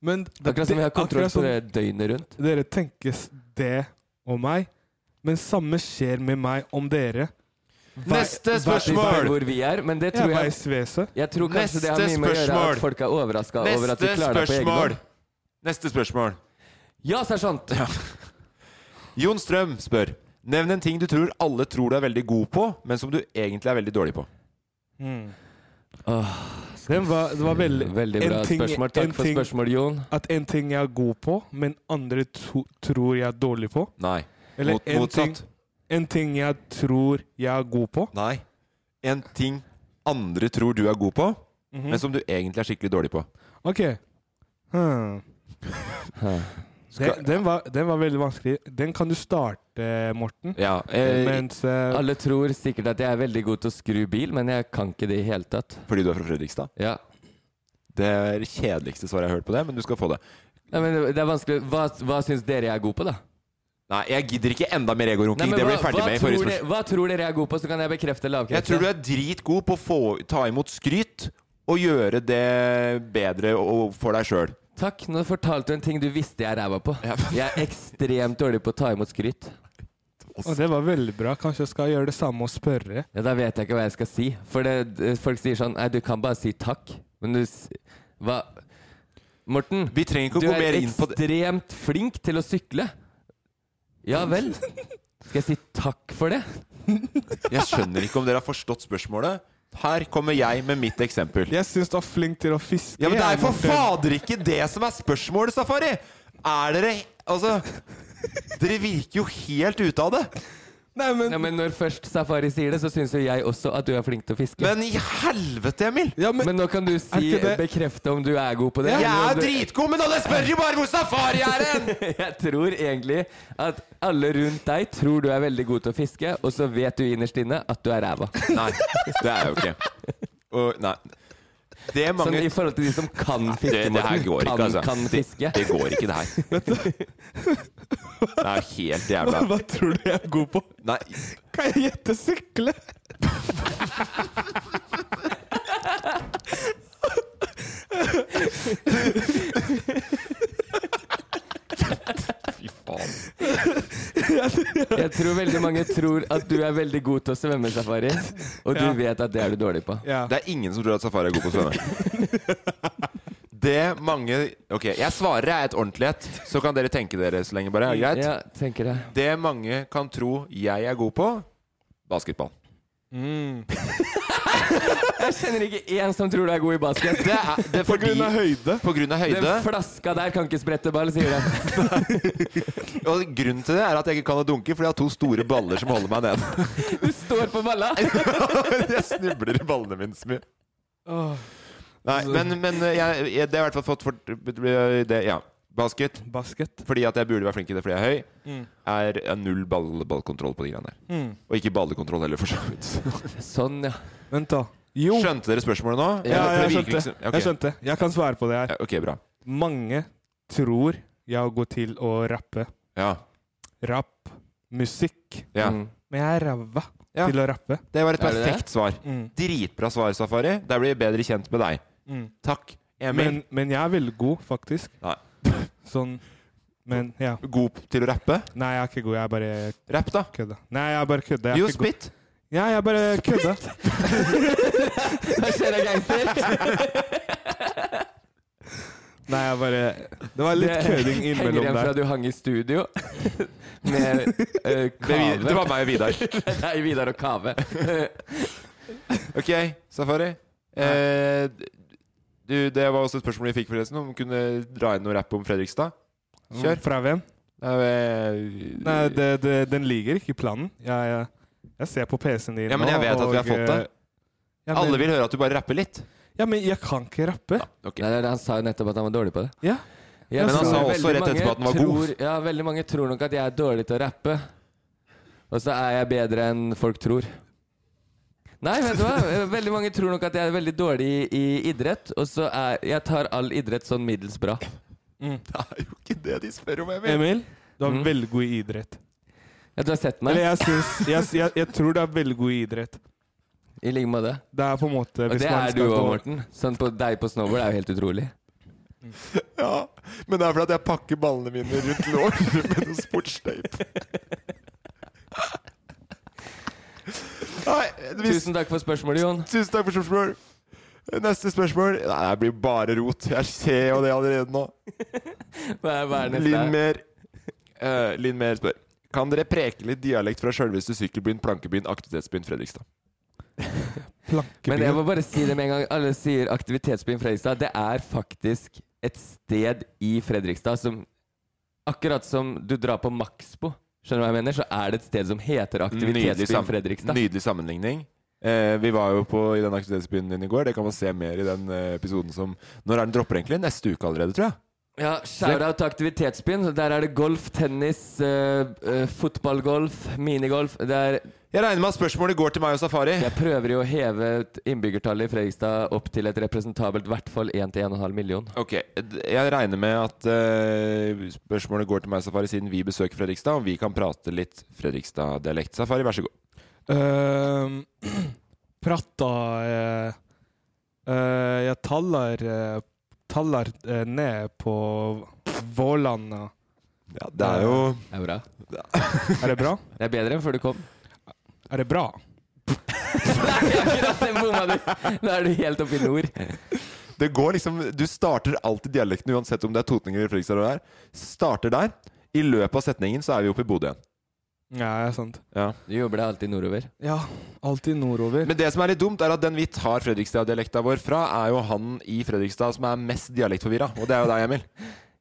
S1: Men det-
S4: Akkurat som vi har kontroll
S1: akkurat som
S4: på det døgnet rundt.
S1: Dere tenkes det om meg, men samme skjer med meg om dere. Hver-
S4: Neste
S1: hver-
S4: spørsmål! Hvor vi er, men det tror
S1: Ja,
S4: jeg-
S1: veisveset.
S4: Jeg tror kanskje det har mye med å gjøre at folk er overraska over at vi klarer det på egen hånd.
S3: Neste spørsmål.
S4: Ja, sersjant!
S3: Jon Strøm spør Nevn en ting du tror alle tror du er veldig god på, men som du egentlig er veldig dårlig på.
S1: Mm. Den var, det var veldig,
S4: Veldig bra
S1: en ting-
S4: spørsmål. Takk
S1: en
S4: for spørsmål, Jon.
S1: At en ting jeg er god på, men andre tro, tror jeg er dårlig på.
S3: Nei.
S1: Eller
S3: Mot-
S1: en ting,
S3: motsatt.
S1: en ting jeg tror jeg er god på.
S3: Nei. En ting andre tror du er god på,
S1: Mhm.
S3: men som du egentlig er skikkelig dårlig på.
S1: Ok. Hmm. Den, den, var, den var veldig vanskelig. Den kan du starte, Morten.
S4: Ja, eh,
S1: Mens,
S4: alle tror sikkert at jeg er veldig god til å skru bil, men jeg kan ikke det i hele tatt.
S3: Fordi du er fra Fredrikstad?
S4: Ja.
S3: Det er det kjedeligste svaret jeg har hørt på det, men du skal få det.
S4: Nei, men det er vanskelig. Hva, hva syns dere jeg er god på, da?
S3: Nei, jeg gidder ikke enda mer egorunking.
S4: Nei, men
S3: Det ble
S4: hva-
S3: vi ferdig
S4: hva
S3: med i
S4: tror
S3: forrige
S4: dere-
S3: spørsmål.
S4: Hva tror dere jeg er god på, så kan jeg bekrefte eller avkrefte?
S3: Jeg tror du er dritgod på å få, ta imot skryt og gjøre det bedre og for deg sjøl.
S4: Takk, nå fortalte du en ting du visste jeg er ræva på. Jeg er ekstremt dårlig på å ta imot skryt.
S1: Og det var veldig bra. Kanskje jeg skal gjøre det samme og spørre.
S4: Ja, Da vet jeg ikke hva jeg skal si. For det, det- folk sier sånn Nei, du kan bare si takk. Men du s- Hva Morten,
S3: Vi trenger ikke å
S4: du
S3: gå mer
S4: er
S3: inn på det.
S4: ekstremt flink til å sykle. Ja vel. Skal jeg si takk for det?
S3: Jeg skjønner ikke om dere har forstått spørsmålet. Her kommer jeg med mitt eksempel.
S1: Jeg syns du er flink til å fiske.
S3: Ja, men det er for
S1: Morten.
S3: fader ikke det som er spørsmålet, Safari! Er dere Altså Dere virker jo helt ute av det.
S1: Nei, men,
S4: når først Safari sier det, så syns jo jeg også at du er flink til å fiske.
S3: Men i helvete, Emil!
S4: men, nå kan du si,
S3: ikke det-
S4: bekrefte om du er god på det.
S3: Jeg
S4: Eller om
S3: er
S4: du-
S3: dritgod, men alle spør jo bare hvor Safari er hen!
S4: (laughs) Jeg tror egentlig at alle rundt deg tror du er veldig god til å fiske, og så vet du innerst inne at du er ræva.
S3: Nei, det er jo ikke. Og, nei. Det er mange
S4: Sånn i forhold til de som kan fiske,
S3: det, det her
S4: Morten.
S3: går ikke,
S4: Kan-
S3: altså.
S4: kan
S3: Det,
S4: fiske.
S3: det går ikke, det her.
S4: (laughs)
S3: Det er jo helt jævla
S1: Hva tror du jeg er god på?
S3: Nei,
S1: Kan jeg gjette sykle?
S3: fy faen.
S4: Jeg tror veldig mange tror at du er veldig god til å svømme, Safari. Og du
S1: Ja.
S4: vet at det er du dårlig på.
S1: Ja.
S3: Det er ingen som tror at Safari er god på å svømme. Det mange Ok, jeg svarer er et ordentlighet, så kan dere tenke dere så lenge, bare. Er det
S4: Ja,
S3: greit?
S4: tenker jeg.
S3: Det mange kan tro jeg er god på basketball.
S4: Jeg kjenner ikke én som tror du er god i basket.
S3: Det er, det er fordi, på grunn av høyde. På grunn av
S4: Den
S3: høyde.
S4: flaska der kan ikke sprette ball, sier jeg.
S3: Og grunnen til det er at jeg ikke kan å dunke, fordi jeg har to store baller som holder meg nede. (laughs)
S4: Du står på balla!
S3: jeg snubler i ballene mine så mye. Nei, men, men eh, jeg, jeg, det har jeg i hvert fall fått fort det, Ja. Basket.
S1: Basket.
S3: Fordi at jeg burde være flink i det fordi jeg er høy,
S1: Mm.
S3: er jeg har null ball, ballkontroll på de greiene der. Og ikke ballekontroll heller, for så vidt.
S4: Sånn, ja.
S1: Vent, da. (laughs) Jo.
S3: Skjønte dere spørsmålet nå? For
S1: Ja,
S3: det virker
S1: jeg skjønte.
S3: liksom- ok.
S1: Jeg skjønte. Jeg kan svare på det her.
S3: Ja, ok, bra.
S1: Mange tror jeg går til å rappe.
S3: Ja.
S1: Rapp. Musikk.
S3: ja.
S4: Mm.
S1: Men jeg er ræva
S3: Ja.
S1: til å rappe.
S3: Det var et
S4: Er det
S3: perfekt svar.
S1: Mm.
S3: Dritbra svar, Safari. Der blir jeg bedre kjent med deg.
S1: Mm.
S3: Takk, Emil.
S1: Men, men jeg er veldig god, faktisk.
S3: Nei.
S1: (laughs) Sånn Men ja.
S3: God til å rappe.
S1: Nei, jeg er ikke god. Jeg er bare
S3: Rapp, da.
S1: kødda. Nei, jeg er bare kødda. Jeg er
S3: Jo,
S1: ikke god. (laughs)
S3: spit.
S1: Ja, jeg er bare kødda.
S4: Da skjer jeg
S3: (laughs)
S4: gangster.
S1: Nei, jeg er bare Det var litt
S4: (laughs)
S1: kødding
S4: Henger
S1: innimellom
S4: igjen fra
S1: der.
S4: du hang i studio med eh,
S3: Det, vi-
S4: Kave.
S3: det var meg og
S1: (laughs)
S3: Vidar.
S4: Det er Vidar og Kave.
S3: Ok, Safari. Eh, du, det var også et spørsmål vi fikk, forresten. Om vi kunne dra inn noe rapp om Fredrikstad. Kjør.
S1: Fra hvem? Nei,
S3: Nei,
S1: det, det, den ligger ikke i planen. Jeg, jeg, jeg ser på PC-en din eh,
S3: Ja, men jeg vet at vi har fått det.
S1: Ja, men,
S3: Alle vil høre at du bare rapper litt.
S1: Ja, men jeg kan ikke rappe.
S3: Ok.
S4: Nei, det- han sa jo nettopp at han var dårlig på det.
S1: Ja.
S4: Jeg
S3: Men han
S4: tror
S3: sa
S4: veldig
S3: også rett
S4: mange
S3: etterpå at han var god.
S4: tror- Ja, veldig mange tror nok at jeg er dårlig til å rappe. Og så er jeg bedre enn folk tror. Nei, vet du hva? Eh, Veldig mange tror nok at jeg er veldig dårlig i, i idrett, og så er Jeg tar all idrett sånn middels bra.
S3: Det er jo ikke det de spør om,
S1: Emil, du er
S4: Mm.
S1: veldig god i idrett.
S4: Ja, du har sett meg?
S1: Eller jeg, syns- jeg, jeg, jeg tror du er veldig god i idrett.
S4: I like måte.
S1: Det er på en måte
S4: Og
S1: hvis
S4: det
S1: man
S4: er
S1: skal
S4: du
S1: gå-
S4: òg, Morten. Sånn på deg på snowboard er jo helt utrolig.
S3: Ja, men det er fordi at jeg pakker ballene mine rundt låret med noe sportstape. Nei, hvis-
S4: Tusen takk for spørsmålet, Jon.
S3: Tusen takk for spørsmål. Neste spørsmål Nei, det blir bare rot. Jeg ser jo det allerede nå.
S4: Hva er, hva er neste?
S3: Linn Mer Eh, Linn Mer spør Kan dere preke litt dialekt fra sjølveste sykkelbyen, plankebyen, aktivitetsbyen Fredrikstad?
S4: Men jeg må bare si det med en gang. Alle sier aktivitetsbyen Fredrikstad. Det er faktisk et sted i Fredrikstad som Akkurat som du drar på Maxbo, skjønner du hva jeg mener? Så er det et sted som heter
S3: Nydelig, sam
S4: aktivitetsbyen Fredrikstad.
S3: nydelig sammenligning. Eh, vi var jo på, i den aktivitetsbyen din i går. Det kan man se mer i den eh, episoden som Når er den dropper, egentlig? Neste uke allerede, tror jeg.
S4: Ja, shout-out til aktivitetsbyen. Der er det golf, tennis, eh, eh, fotballgolf, minigolf. Det er
S3: Jeg regner med at spørsmålet går til meg og Safari.
S4: Jeg prøver jo å heve ut innbyggertallet i Fredrikstad opp til et representabelt hvert fall 1-1,5 million.
S3: Ok, d- Jeg regner med at eh, spørsmålet går til meg og Safari siden vi besøker Fredrikstad, om vi kan prate litt Fredrikstad-dialekt. Safari, vær så god.
S1: Ehm, (clears throat) pratta eh, eh, Jeg taller, eh, taller eh, ned på Vålanda.
S3: Ja, det er jo
S4: Det er bra.
S1: Er det bra?
S4: Det er bedre enn før du kom. (laughs)
S1: Er det bra?
S4: Nei, akkurat det bomma du! Da er du helt oppe i nord.
S3: Det går liksom Du starter alltid dialekten, uansett om det er totninger eller Fredrikstad. eller hva det er. Starter der. I løpet av setningen så er vi oppe i Bodø igjen.
S1: Ja, det er sant.
S3: Ja.
S4: Du jobber deg alltid nordover.
S1: Ja, alltid nordover.
S3: Men det som er litt dumt, er at den vi tar Fredrikstad-dialekta vår fra, er jo han i Fredrikstad som er mest dialektforvirra. Og det er jo deg, Emil.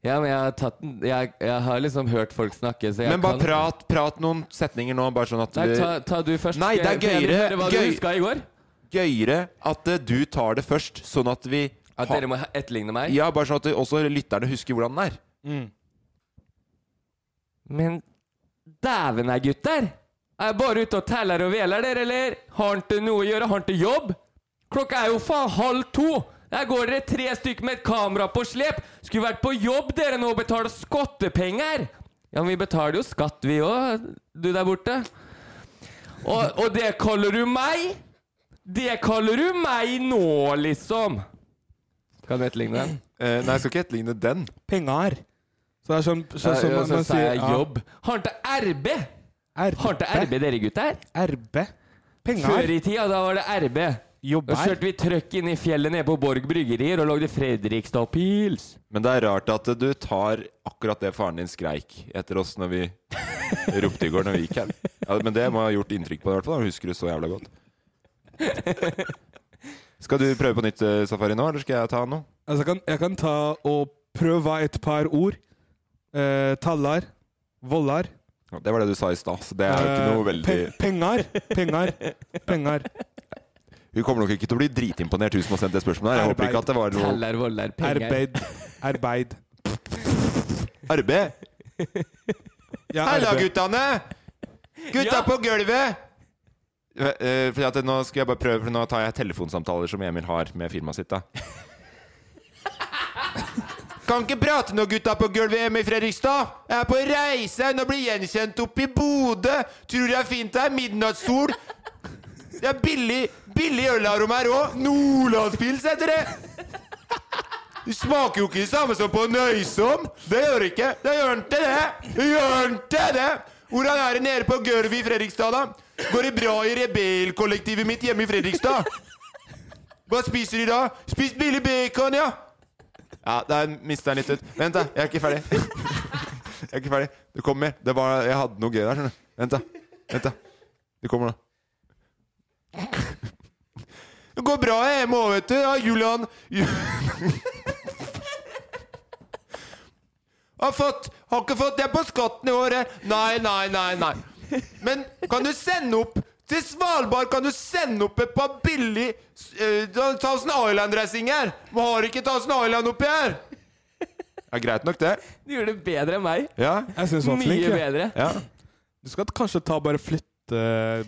S4: Ja, men jeg har, tatt, den- jeg, jeg har liksom hørt folk snakke, så jeg
S3: Men bare
S4: kan
S3: prat, prat noen setninger nå, bare sånn at
S4: Nei,
S3: vi-
S4: ta, ta du først.
S3: Nei, det
S4: Skal jeg-
S3: er
S4: skal jeg
S3: gøyere-
S4: høre hva
S3: gøy-
S4: du huska i går?
S3: Gøyere at eh, du tar det først, sånn at vi
S4: At
S3: har-
S4: dere må etterligne meg?
S3: Ja, bare sånn at det- også lytterne husker hvordan den er.
S4: Men dæven er gutter! Er jeg bare ute og teller og veler der, eller? Har han ikke noe å gjøre? Har han ikke jobb? Klokka er jo faen halv to! Der går dere tre stykker med et kamera på slep! Skulle vært på jobb dere nå og betale skattepenger! Ja, men vi betaler jo skatt, vi òg, du der borte. Og, og det kaller du meg? Det kaller du meg nå, liksom! Kan du etterligne den?
S3: Eh, nei, jeg skal ikke etterligne den.
S1: Penger. Så det er sånn så,
S4: Ja,
S1: så,
S4: ja,
S1: man,
S4: så
S1: man
S4: sa
S1: sier
S4: jeg
S1: ja,
S4: jobb. Har han ikke RB? Har han ikke
S1: RB.
S4: RB, dere gutter?
S1: RB.
S4: Før
S1: Penger.
S4: i tida, da var det RB. Da
S1: Jobber.
S4: kjørte vi trøkk inn i fjellet nede på Borg bryggerier og lagde Fredrikstad-pils.
S3: Men det er rart at du tar akkurat det faren din skreik etter oss når vi ropte i går når vi gikk her. Ja, men det må ha gjort inntrykk på deg i hvert fall. da. Husker du så jævla godt. Skal du prøve på nytt eh, safari nå, eller skal jeg ta noe?
S1: Altså, jeg, kan, jeg kan ta og prøve et par ord. Eh, tallar. Vollar.
S3: Ja, Det var det du sa i stad, så det er jo ikke noe
S1: Eh,
S3: veldig
S1: pe- Penger. Penger. Penger.
S3: Hun kommer nok ikke til å bli dritimponert, hun som har sendt det spørsmålet her. Jeg håper
S1: Arbeid.
S3: ikke at det var noe
S4: Teller, voller, penger.
S1: Arbeid. Arbeid.
S3: Arbeid!
S1: Ja,
S3: Halla,
S1: arbeid.
S3: guttene! Gutta
S4: Ja.
S3: på gulvet! Eh, eh, fordi at nå skal jeg bare prøve, for nå tar jeg telefonsamtaler som Emil har med firmaet sitt. da Kan ikke prate nå, gutta på gulvet hjemme i Fredrikstad! Jeg er på reise og blir gjenkjent oppe i Bodø! Tror jeg fint det er midnattssol! Det er billig billig ølarom her òg! Nordlandspils heter det! Det smaker jo ikke det samme som på Nøysom. Det gjør det ikke. Det gjør ikke det. Det gjør ikke det. Hvordan er det nede på gulvet i Fredrikstad, da? Går det bra i rebellkollektivet mitt hjemme i Fredrikstad? Hva spiser de da? Spist billig bacon, ja. Ja, der mista jeg litt ut. Vent, da. Jeg er ikke ferdig. Jeg er ikke ferdig. Det kommer mer. Det var, jeg hadde noe gøy der, skjønner du. Vent, da. Vent, da. Det kommer nå. Det går bra hjemme òg, vet du. Ja, Julian Ju- Har, fått, har ikke fått det på skatten i år, jeg. Nei, nei, nei, nei. Men kan du sende opp til Svalbard kan du sende opp et par billig uh, Thousand Island-dressing her? Vi har ikke Thousand Island oppi her. Ja, greit nok, det.
S4: Du gjør det bedre enn meg.
S3: Ja.
S1: Jeg syns du var flink.
S4: Mye
S1: ja.
S4: bedre.
S3: Ja,
S1: Du skal kanskje ta bare flytte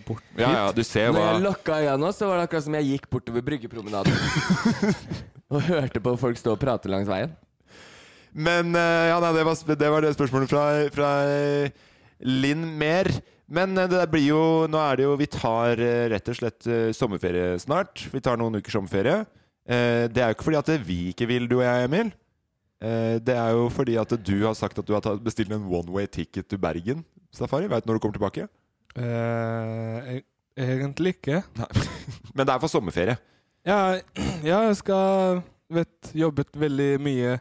S1: bort hit.
S3: ja, du ser
S4: Når jeg
S3: hva
S4: lukka øya nå, så var det akkurat som jeg gikk bortover Bryggepromenaden. og hørte på folk stå og prate langs veien.
S3: Men eh, ja, nei, det, var, sp- det var det spørsmålet fra, fra eh, Linn Mer. Men eh, det der blir jo Nå er det jo Vi tar eh, rett og slett eh, sommerferie eh, snart. Vi tar noen uker sommerferie. Eh, Det er jo ikke fordi at vi ikke vil, du og jeg, Emil. Eh, Det er jo fordi at du har sagt at du har tatt- bestilt en one way ticket til Bergen safari. Veit du når du kommer tilbake?
S1: Eh, e- egentlig ikke.
S3: (laughs) Men det er for sommerferie.
S1: Ja, (clears throat) ja, jeg skal Vet, jobbet veldig mye.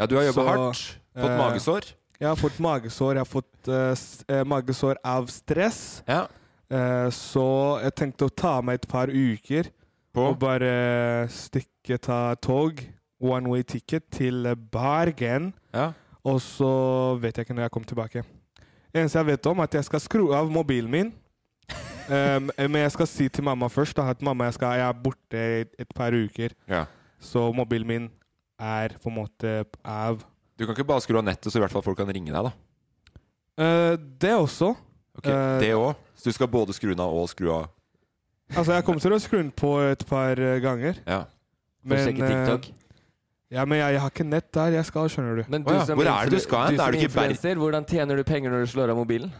S3: Ja, du har jobbet hardt.
S4: eh,
S3: Fått magesår.
S1: Jeg har fått magesår. Jeg har fått eh, s- eh, magesår av stress. Eh, så jeg tenkte å ta meg et par uker og bare stikke, ta tog, one way ticket, til Bergen. Og så vet jeg ikke når jeg kommer tilbake. Eneste jeg vet om, er at jeg skal skru av mobilen
S4: (laughs)
S1: min. Em, eh, men jeg skal si til mamma først da, at mamma, jeg, skal, jeg er borte i et par uker.
S3: Ja.
S1: Så mobilen min er på en måte av.
S3: Du kan ikke bare skru av nettet, så i hvert fall folk kan ringe deg, da.
S1: Eh, det også.
S3: Ok,
S1: Eh,
S3: det òg. Så du skal både skru den av og skru av
S1: Altså, jeg kommer til å skru den på et par eh, ganger.
S3: Ja.
S4: For å sjekke TikTok?
S1: eh, Ja, men jeg, jeg har ikke nett der jeg skal, skjønner du.
S4: Men du som influ- Du som influenser, hvordan tjener du penger når du slår av mobilen?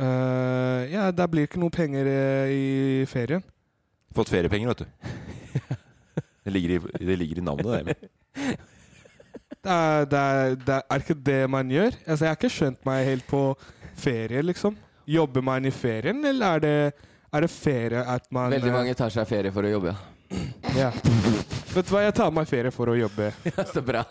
S1: Eh, ja, der blir ikke noe penger eh, i ferien.
S3: Fått feriepenger,
S1: (laughs)
S3: vet du. Det ligger i, det ligger i navnet, det. Emil.
S1: Det er, det, er, det er- er ikke det man gjør. Altså, jeg har ikke skjønt meg helt på ferie, liksom. Jobber man i ferien, eller er det, er det ferie at man
S4: Veldig
S1: eh,
S4: mange tar seg ferie for å jobbe.
S1: Ja. Vet du hva, jeg tar meg ferie for å jobbe.
S4: (laughs) Så bra.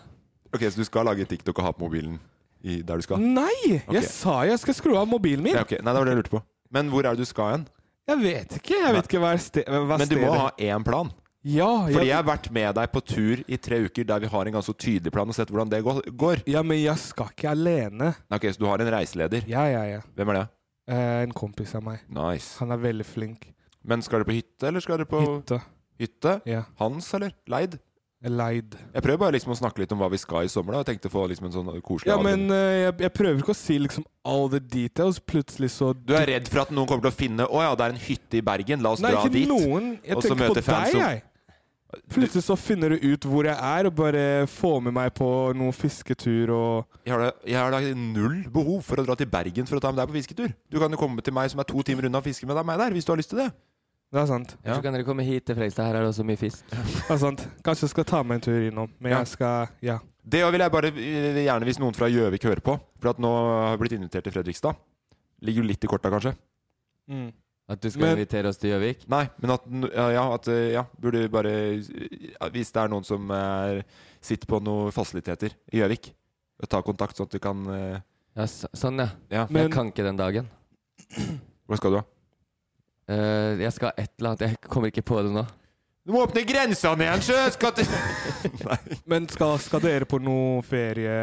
S3: Ok, Så du skal lage TikTok og ha på mobilen i, der du skal?
S1: Nei!
S3: Ok.
S1: Jeg sa jeg skal skru av mobilen min.
S3: Ja, ok. Nei, det var det jeg lurte på. Men hvor er det du skal hen?
S1: Jeg vet ikke. Jeg vet ikke hva, er ste hva
S3: Men du
S1: stedet
S3: må ha én plan.
S1: Ja,
S3: Fordi jeg har vært med deg på tur i tre uker der vi har en ganske tydelig plan, og sett hvordan det gå- går.
S1: Ja, men jeg skal ikke alene.
S3: Nei, Ok, Så du har en reiseleder.
S1: Ja, ja, ja.
S3: Hvem er det?
S1: Eh, en kompis av meg.
S3: Nice.
S1: Han er veldig flink.
S3: Men skal du på hytte, eller skal du på
S1: Hytte.
S3: Hytte?
S1: Ja.
S3: Hans, eller? Leid?
S1: Leid.
S3: Jeg prøver bare liksom å snakke litt om hva vi skal i sommer, da. Jeg tenkte å få liksom en sånn koselig
S1: Ja,
S3: avdeling.
S1: men eh, jeg, jeg prøver ikke å si liksom all the details. Plutselig så
S3: Du er redd for at noen kommer til å finne Å ja, det er en hytte i Bergen, la oss
S1: Nei,
S3: dra
S1: ikke
S3: dit.
S1: noen. Jeg
S3: Og så
S1: tenker på
S3: møte fans
S1: deg,
S3: som-
S1: jeg. Plutselig så finner du ut hvor jeg er, og bare får med meg på noen fisketur og
S3: Jeg har, da, jeg har da null behov for å dra til Bergen for å ta med deg på fisketur. Du kan jo komme til meg som er to timer unna og fiske med deg, meg der, hvis du har lyst til det.
S1: Det er sant.
S4: Så kan dere komme hit til Fredrikstad. Her er det også mye fisk.
S1: Det er sant. Kanskje jeg skal ta meg en tur innom. Men
S3: Ja.
S1: jeg skal Ja.
S3: Det vil jeg bare eh, gjerne hvis noen fra Gjøvik hører på. For at nå har jeg blitt invitert til Fredrikstad. Ligger jo litt i korta, kanskje.
S1: Mm.
S4: At du skal
S3: Men-
S4: invitere oss til Gjøvik?
S3: Nei, men at n- ja, ja, at eh, ja, burde vi bare eh, Hvis det er noen som er, sitter på noen fasiliteter i Gjøvik, ta kontakt sånn at du kan eh,
S4: Ja, så, sånn, ja.
S3: Ja.
S4: jeg kan ikke den dagen.
S3: Hva skal du, da?
S4: Eh, jeg skal et eller annet. Jeg kommer ikke på det nå.
S3: Du må åpne grensene igjen, sjø! Skal (laughs) til
S1: Men skal, skal dere på noe ferie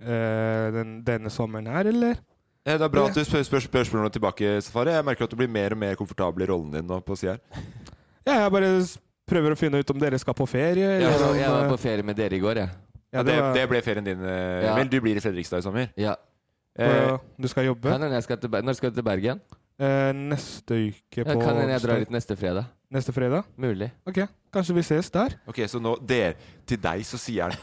S1: eh, den, denne sommeren her, eller?
S3: Eh, Det er bra at du spør, spør spørsmålene tilbake, Safari. Jeg merker at du blir mer og mer komfortabel i rollen din nå på siden her.
S1: Ja, jeg bare s- prøver å finne ut om dere skal på ferie.
S4: Jeg,
S1: Eller om,
S4: jeg var
S1: eh,
S4: på ferie med dere i går, jeg.
S1: Ja,
S3: Ja,
S1: det
S3: det,
S1: var-
S3: det ble ferien din, eh,
S4: Ja.
S3: Emil. Du blir i Fredrikstad i sommer.
S4: Ja.
S3: Eh,
S1: og du skal jobbe
S4: Kan hende jeg skal til, Ber- når skal du til Bergen?
S1: eh, neste uke
S4: Ja,
S1: på
S4: kan hende jeg drar
S1: onsdag.
S4: hit neste fredag.
S1: Neste fredag?
S4: Mulig.
S1: Ok, kanskje vi ses der?
S3: ok, så nå der, Til deg så sier han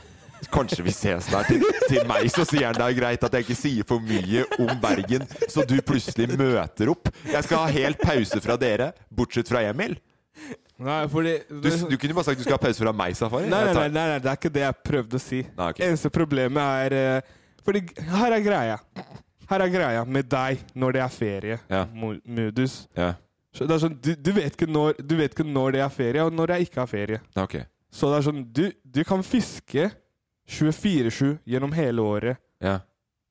S3: Kanskje vi ses der. Til, til meg så sier han det er greit at jeg ikke sier for mye om Bergen, så du plutselig møter opp. Jeg skal ha helt pause fra dere, bortsett fra Emil.
S1: Nei, fordi
S3: Du, du kunne bare sagt du skal ha pause fra meg, Safari.
S1: Nei, nei,
S3: Jeg tar-
S1: nei, nei, nei, det er ikke det jeg prøvde å si.
S3: Nei, ok.
S1: Eneste problemet er eh, Fordi g- her er greia. Her er greia med deg når det er
S3: Ja.
S1: ferie-modus.
S3: Ja,
S1: Så det er sånn, du, du, vet ikke når, du vet ikke når det er ferie, og når det ikke er ferie.
S3: nei, ok.
S1: Så det er sånn Du, du kan fiske 24-7 gjennom hele året.
S3: Ja,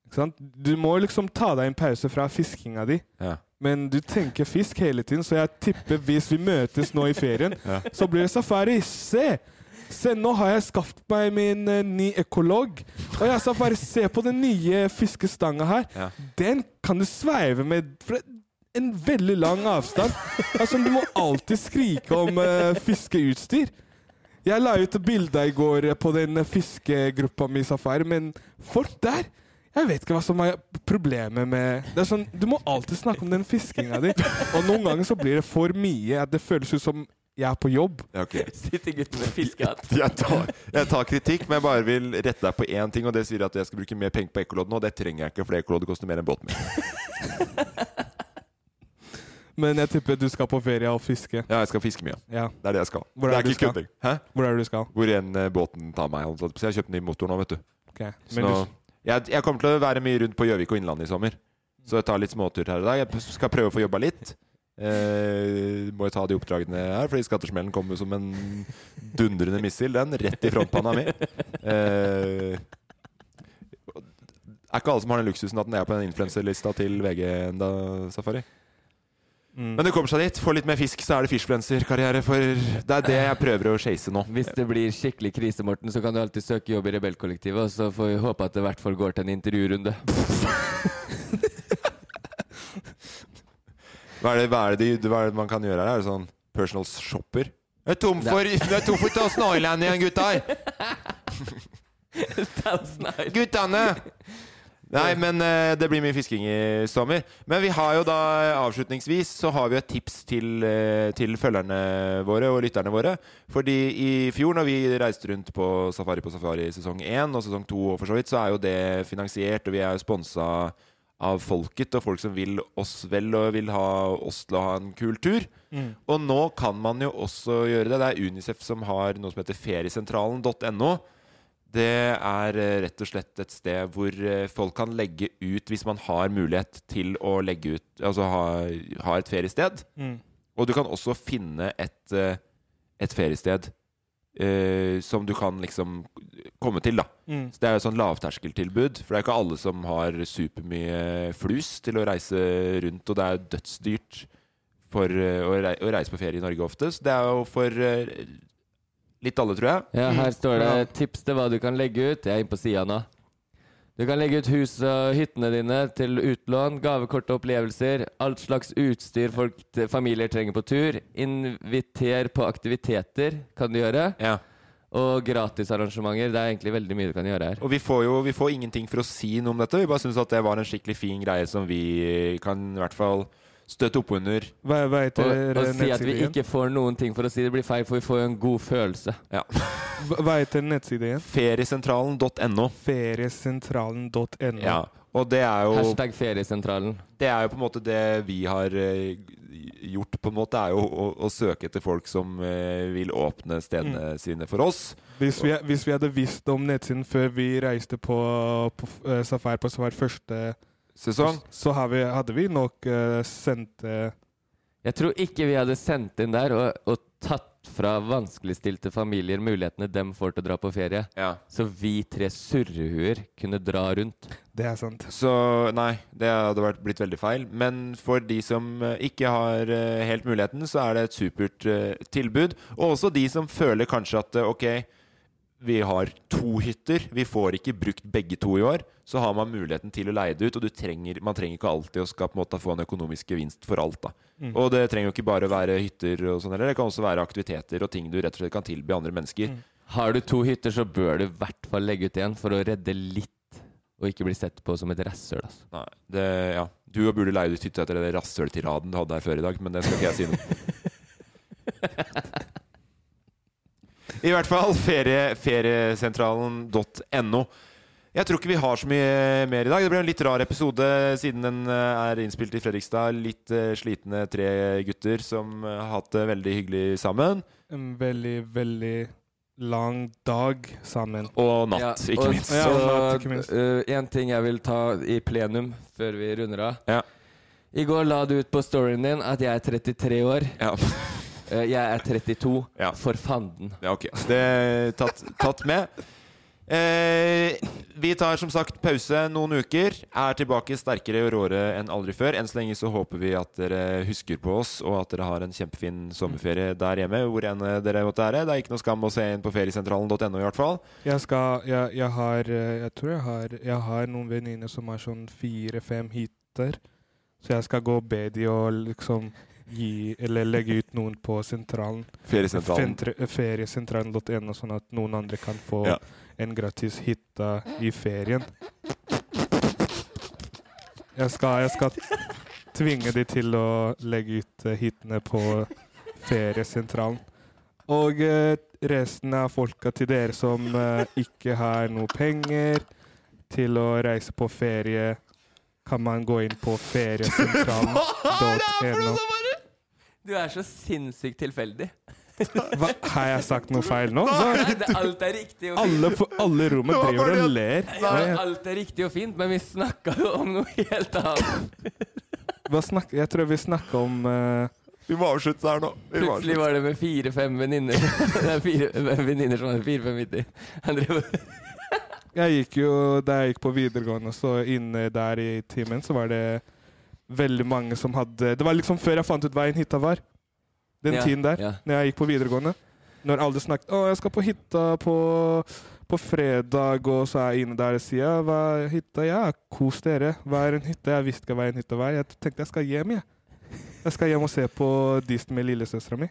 S1: Ikke sant? Du må liksom ta deg en pause fra fiskinga di.
S3: ja.
S1: Men du tenker fisk hele tiden, så jeg tipper hvis vi møtes nå i ferien,
S3: Ja.
S1: så blir det safari. Se! Se, nå har jeg skaffet meg min eh, ny ekolog. Og jeg sa bare se på den nye fiskestanga her.
S3: Ja.
S1: Den kan du sveive med fra en veldig lang avstand. Altså, du må alltid skrike om eh, fiskeutstyr. Jeg la ut bilder i går eh, på den eh, fiskegruppa mi i Safari, men folk der Jeg vet ikke hva som er problemet med Det er sånn, Du må alltid snakke om den fiskinga di. Og noen ganger så blir det for mye at det føles ut som jeg er på jobb.
S3: ja (laughs) ok.
S4: Sitter gutten med fiskehatt?
S3: Jeg tar, jeg tar kritikk, men jeg bare vil rette deg på én ting, og det sier at jeg skal bruke mer penger på ekkolodd nå. Det trenger jeg ikke, for ekkolodd koster mer enn båten min.
S1: Men jeg tipper du skal på ferie og fiske.
S3: Ja, jeg skal fiske mye.
S1: Ja.
S3: Det er det jeg skal.
S1: Hvor er
S3: det
S1: det
S3: er
S1: du
S3: ikke
S1: skal?
S3: kødding. Hæ?
S1: Hvor er det du skal?
S3: Hvor igjen eh, båten tar meg. holdt jeg på å si. Jeg har kjøpt ny motor nå, vet du.
S1: Ok,
S3: Så
S1: men
S3: nå,
S1: du-
S3: jeg, jeg kommer til å være mye rundt på Gjøvik og Innlandet i sommer. Så jeg tar litt småtur her i dag. Jeg p- skal prøve å få jobba litt. Eh, må jeg ta de oppdragene her, fordi skattesmellen kommer som en dundrende missil, den. Rett i frontpanna mi. Eh, er ikke alle som har den luksusen at den er på den influenserlista til VG enda, Safari.
S1: Mm.
S3: Men det kommer seg dit. Får litt mer fisk, så er det fishfluencer-karriere. For det er det jeg prøver å chase nå.
S4: Hvis det blir skikkelig krise, Morten, så kan du alltid søke jobb i Rebellkollektivet, og så får vi håpe at det i hvert fall går til en intervjurunde.
S3: Hva er det, hva er det, de- hva er det man kan gjøre her? Er det sånn personal shopper? Jeg er tom for, jeg er tom for Thousand Island igjen, gutter! Guttene! Nei, men eh, det blir mye fisking i sommer. Men vi har jo da eh, avslutningsvis så har vi et tips til, eh, til følgerne våre og lytterne våre. Fordi i fjor, når vi reiste rundt på Safari på Safari i sesong 1 og sesong 2, og for så vidt, så er jo det finansiert, og vi er jo sponsa av folket og folk som vil oss vel og vil ha oss til å ha en kul tur.
S11: Mm.
S3: Og nå kan man jo også gjøre det. Det er Unicef som har noe som heter feriesentralen.no. Det er eh, rett og slett et sted hvor eh, folk kan legge ut, hvis man har mulighet til å legge ut Altså ha, ha et feriested.
S1: Mm.
S3: Og du kan også finne et, eh, et feriested eh, som du kan liksom komme til, da.
S1: Mm.
S3: Så det er jo et sånn lavterskeltilbud. For det er ikke alle som har supermye flus til å reise rundt, og det er dødsdyrt for eh, å rei- å reise på ferie i Norge ofte. Så det er jo for eh, litt alle, tror jeg.
S4: Ja, her står det tips til hva du kan legge ut. Jeg er inne på sida nå. Du kan legge ut hus og hyttene dine til utlån, gavekort og opplevelser, alt slags utstyr folk, t- familier trenger på tur. Inviter på aktiviteter kan du gjøre. Og gratisarrangementer. Det er egentlig veldig mye du kan gjøre her.
S3: Og vi får jo vi får ingenting for å si noe om dette. Vi bare syns at det var en skikkelig fin greie som vi kan i hvert fall støtte opp under.
S1: Hva, hva
S4: Og, og
S1: heter
S3: eh,
S4: si at vi
S1: nettsideen?
S4: ikke får noen ting for å si det blir feil, for vi får jo en god følelse.
S3: Ja.
S1: Hva- Hva heter nettsideen?
S3: Feriesentralen.no.
S1: Feriesentralen.no.
S3: Ja. Og det er jo
S4: Hashtag feriesentralen.
S3: Det er jo på en måte det vi har eh, gjort, på en måte, er jo å, å søke etter folk som eh, vil åpne stedene sine for oss.
S1: Hvis vi, hvis vi hadde visst om nettsiden før vi reiste på, på eh, safari på safari første
S3: Sesong.
S1: så har vi, hadde vi nok eh, sendt eh,
S4: Jeg tror ikke vi hadde sendt inn der og, og tatt fra vanskeligstilte familier mulighetene dem får til å dra på ferie. Så vi tre surrehuer kunne dra rundt.
S1: Det er sant.
S3: Så nei, det hadde vært, blitt veldig feil. Men for de som eh, ikke har eh, helt muligheten, så er det et supert eh, tilbud. Og også de som føler kanskje at eh, ok, vi har to hytter, vi får ikke brukt begge to i år. Så har man muligheten til å leie det ut, og du trenger, man trenger ikke alltid å skal på en måte få en økonomisk gevinst for alt. da.
S11: Mm.
S3: Og det trenger jo ikke bare være hytter, og sånn, heller. det kan også være aktiviteter og ting du rett og slett kan tilby andre mennesker.
S4: Har du to hytter, så bør du i hvert fall legge ut en for å redde litt, og ikke bli sett på som et rasshøl. Altså.
S3: Nei, det, ja. Du burde leie ut hytte etter den rasshøltiraden du hadde her før i dag, men det skal ikke jeg si
S1: (laughs)
S3: noe I hvert fall ferie, feriesentralen.no. Jeg tror ikke vi har så mye mer i dag. Det ble en litt rar episode siden den eh, er innspilt i Fredrikstad. Litt eh, slitne tre gutter som eh, har hatt det veldig hyggelig sammen.
S1: en veldig, veldig lang dag sammen.
S3: Og natt, ikke
S4: og
S3: minst.
S4: Så,
S1: Ja, og natt, ikke minst.
S4: øh, en ting jeg vil ta i plenum før vi runder av.
S3: Ja.
S4: I går la du ut på storyen din at jeg er 33 år. Eh, jeg er 32. For fanden.
S3: Ja, ok. Det er tatt, tatt med. Eh, vi tar som sagt pause noen uker. Er tilbake sterkere og råere enn aldri før. Enn så lenge så håper vi at dere husker på oss, og at dere har en kjempefin sommerferie der hjemme. Hvor enn dere måtte være. Det er ikke noe skam å se inn på feriesentralen.no i hvert fall.
S1: Jeg skal Jeg, jeg har eh, Jeg tror jeg har Jeg har noen venninner som har sånn fire-fem hytter. Så jeg skal gå og be de å liksom gi Eller legge ut noen på sentralen.
S3: Feriesentralen.
S1: Fentre- eh, Feriesentralen.no, sånn at noen andre kan få
S3: Ja.
S1: en gratis hytte i ferien. Jeg skal, jeg skal tvinge de til å legge ut eh, hyttene på feriesentralen. Og eh, resten av folka til dere som eh, ikke har noe penger til å reise på ferie, kan man gå inn på feriesentralen.no.
S4: Du er så sinnssykt tilfeldig.
S1: Hva, har jeg sagt noe feil nå?
S4: Nei, det, alt er riktig og fint.
S1: Alle, på- alle i rommet driver og ler.
S4: Ja,
S1: Nei,
S4: alt er riktig og fint, men vi snakka jo om noe helt annet.
S1: hva snak, jeg tror vi snakka om eh,
S4: Vi må avslutte her nå.
S1: Vi må
S4: Plutselig var det med fire-fem venninner (laughs) Det er fire venninner som hadde fire-fem hytter. Han drev og-
S1: Jeg gikk jo, Da jeg gikk på videregående, så inne der i timen, så var det veldig mange som hadde Det var liksom før jeg fant ut hva en hytta var. Den
S4: Ja,
S1: tiden der,
S4: ja.
S1: når jeg gikk på videregående. Når alle snakket 'Å, jeg skal på hytta på, på fredag', og så er jeg inne der og sier «Ja, 'Hva er hytta?' 'Ja, kos dere. Hva er en hytte?' Jeg visste ikke hva en hytte var. Jeg tenkte jeg skal hjem, jeg. Jeg skal hjem og se på Disney med lillesøstera mi.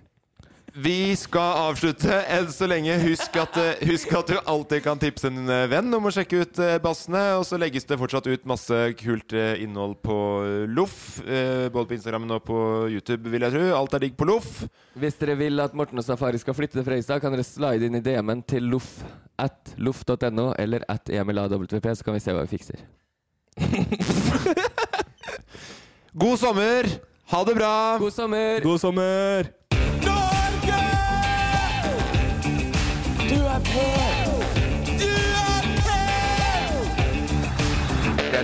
S3: Vi skal avslutte enn så lenge. Husk at, eh, husk at du alltid kan tipse en eh, venn om å sjekke ut eh, bassene. Og så legges det fortsatt ut masse kult eh, innhold på eh, Loff. eh, Både på Instagram og på YouTube, vil jeg tro. Alt er digg på Loff.
S4: Hvis dere vil at Morten og Safari skal flytte til Fredrikstad, kan dere slide inn i DM-en til loff at loff.no eller at emilawp, så kan vi se hva vi fikser.
S3: God sommer! Ha det bra!
S4: God sommer!
S1: God sommer!
S12: Du er på! Du er på!
S2: Jeg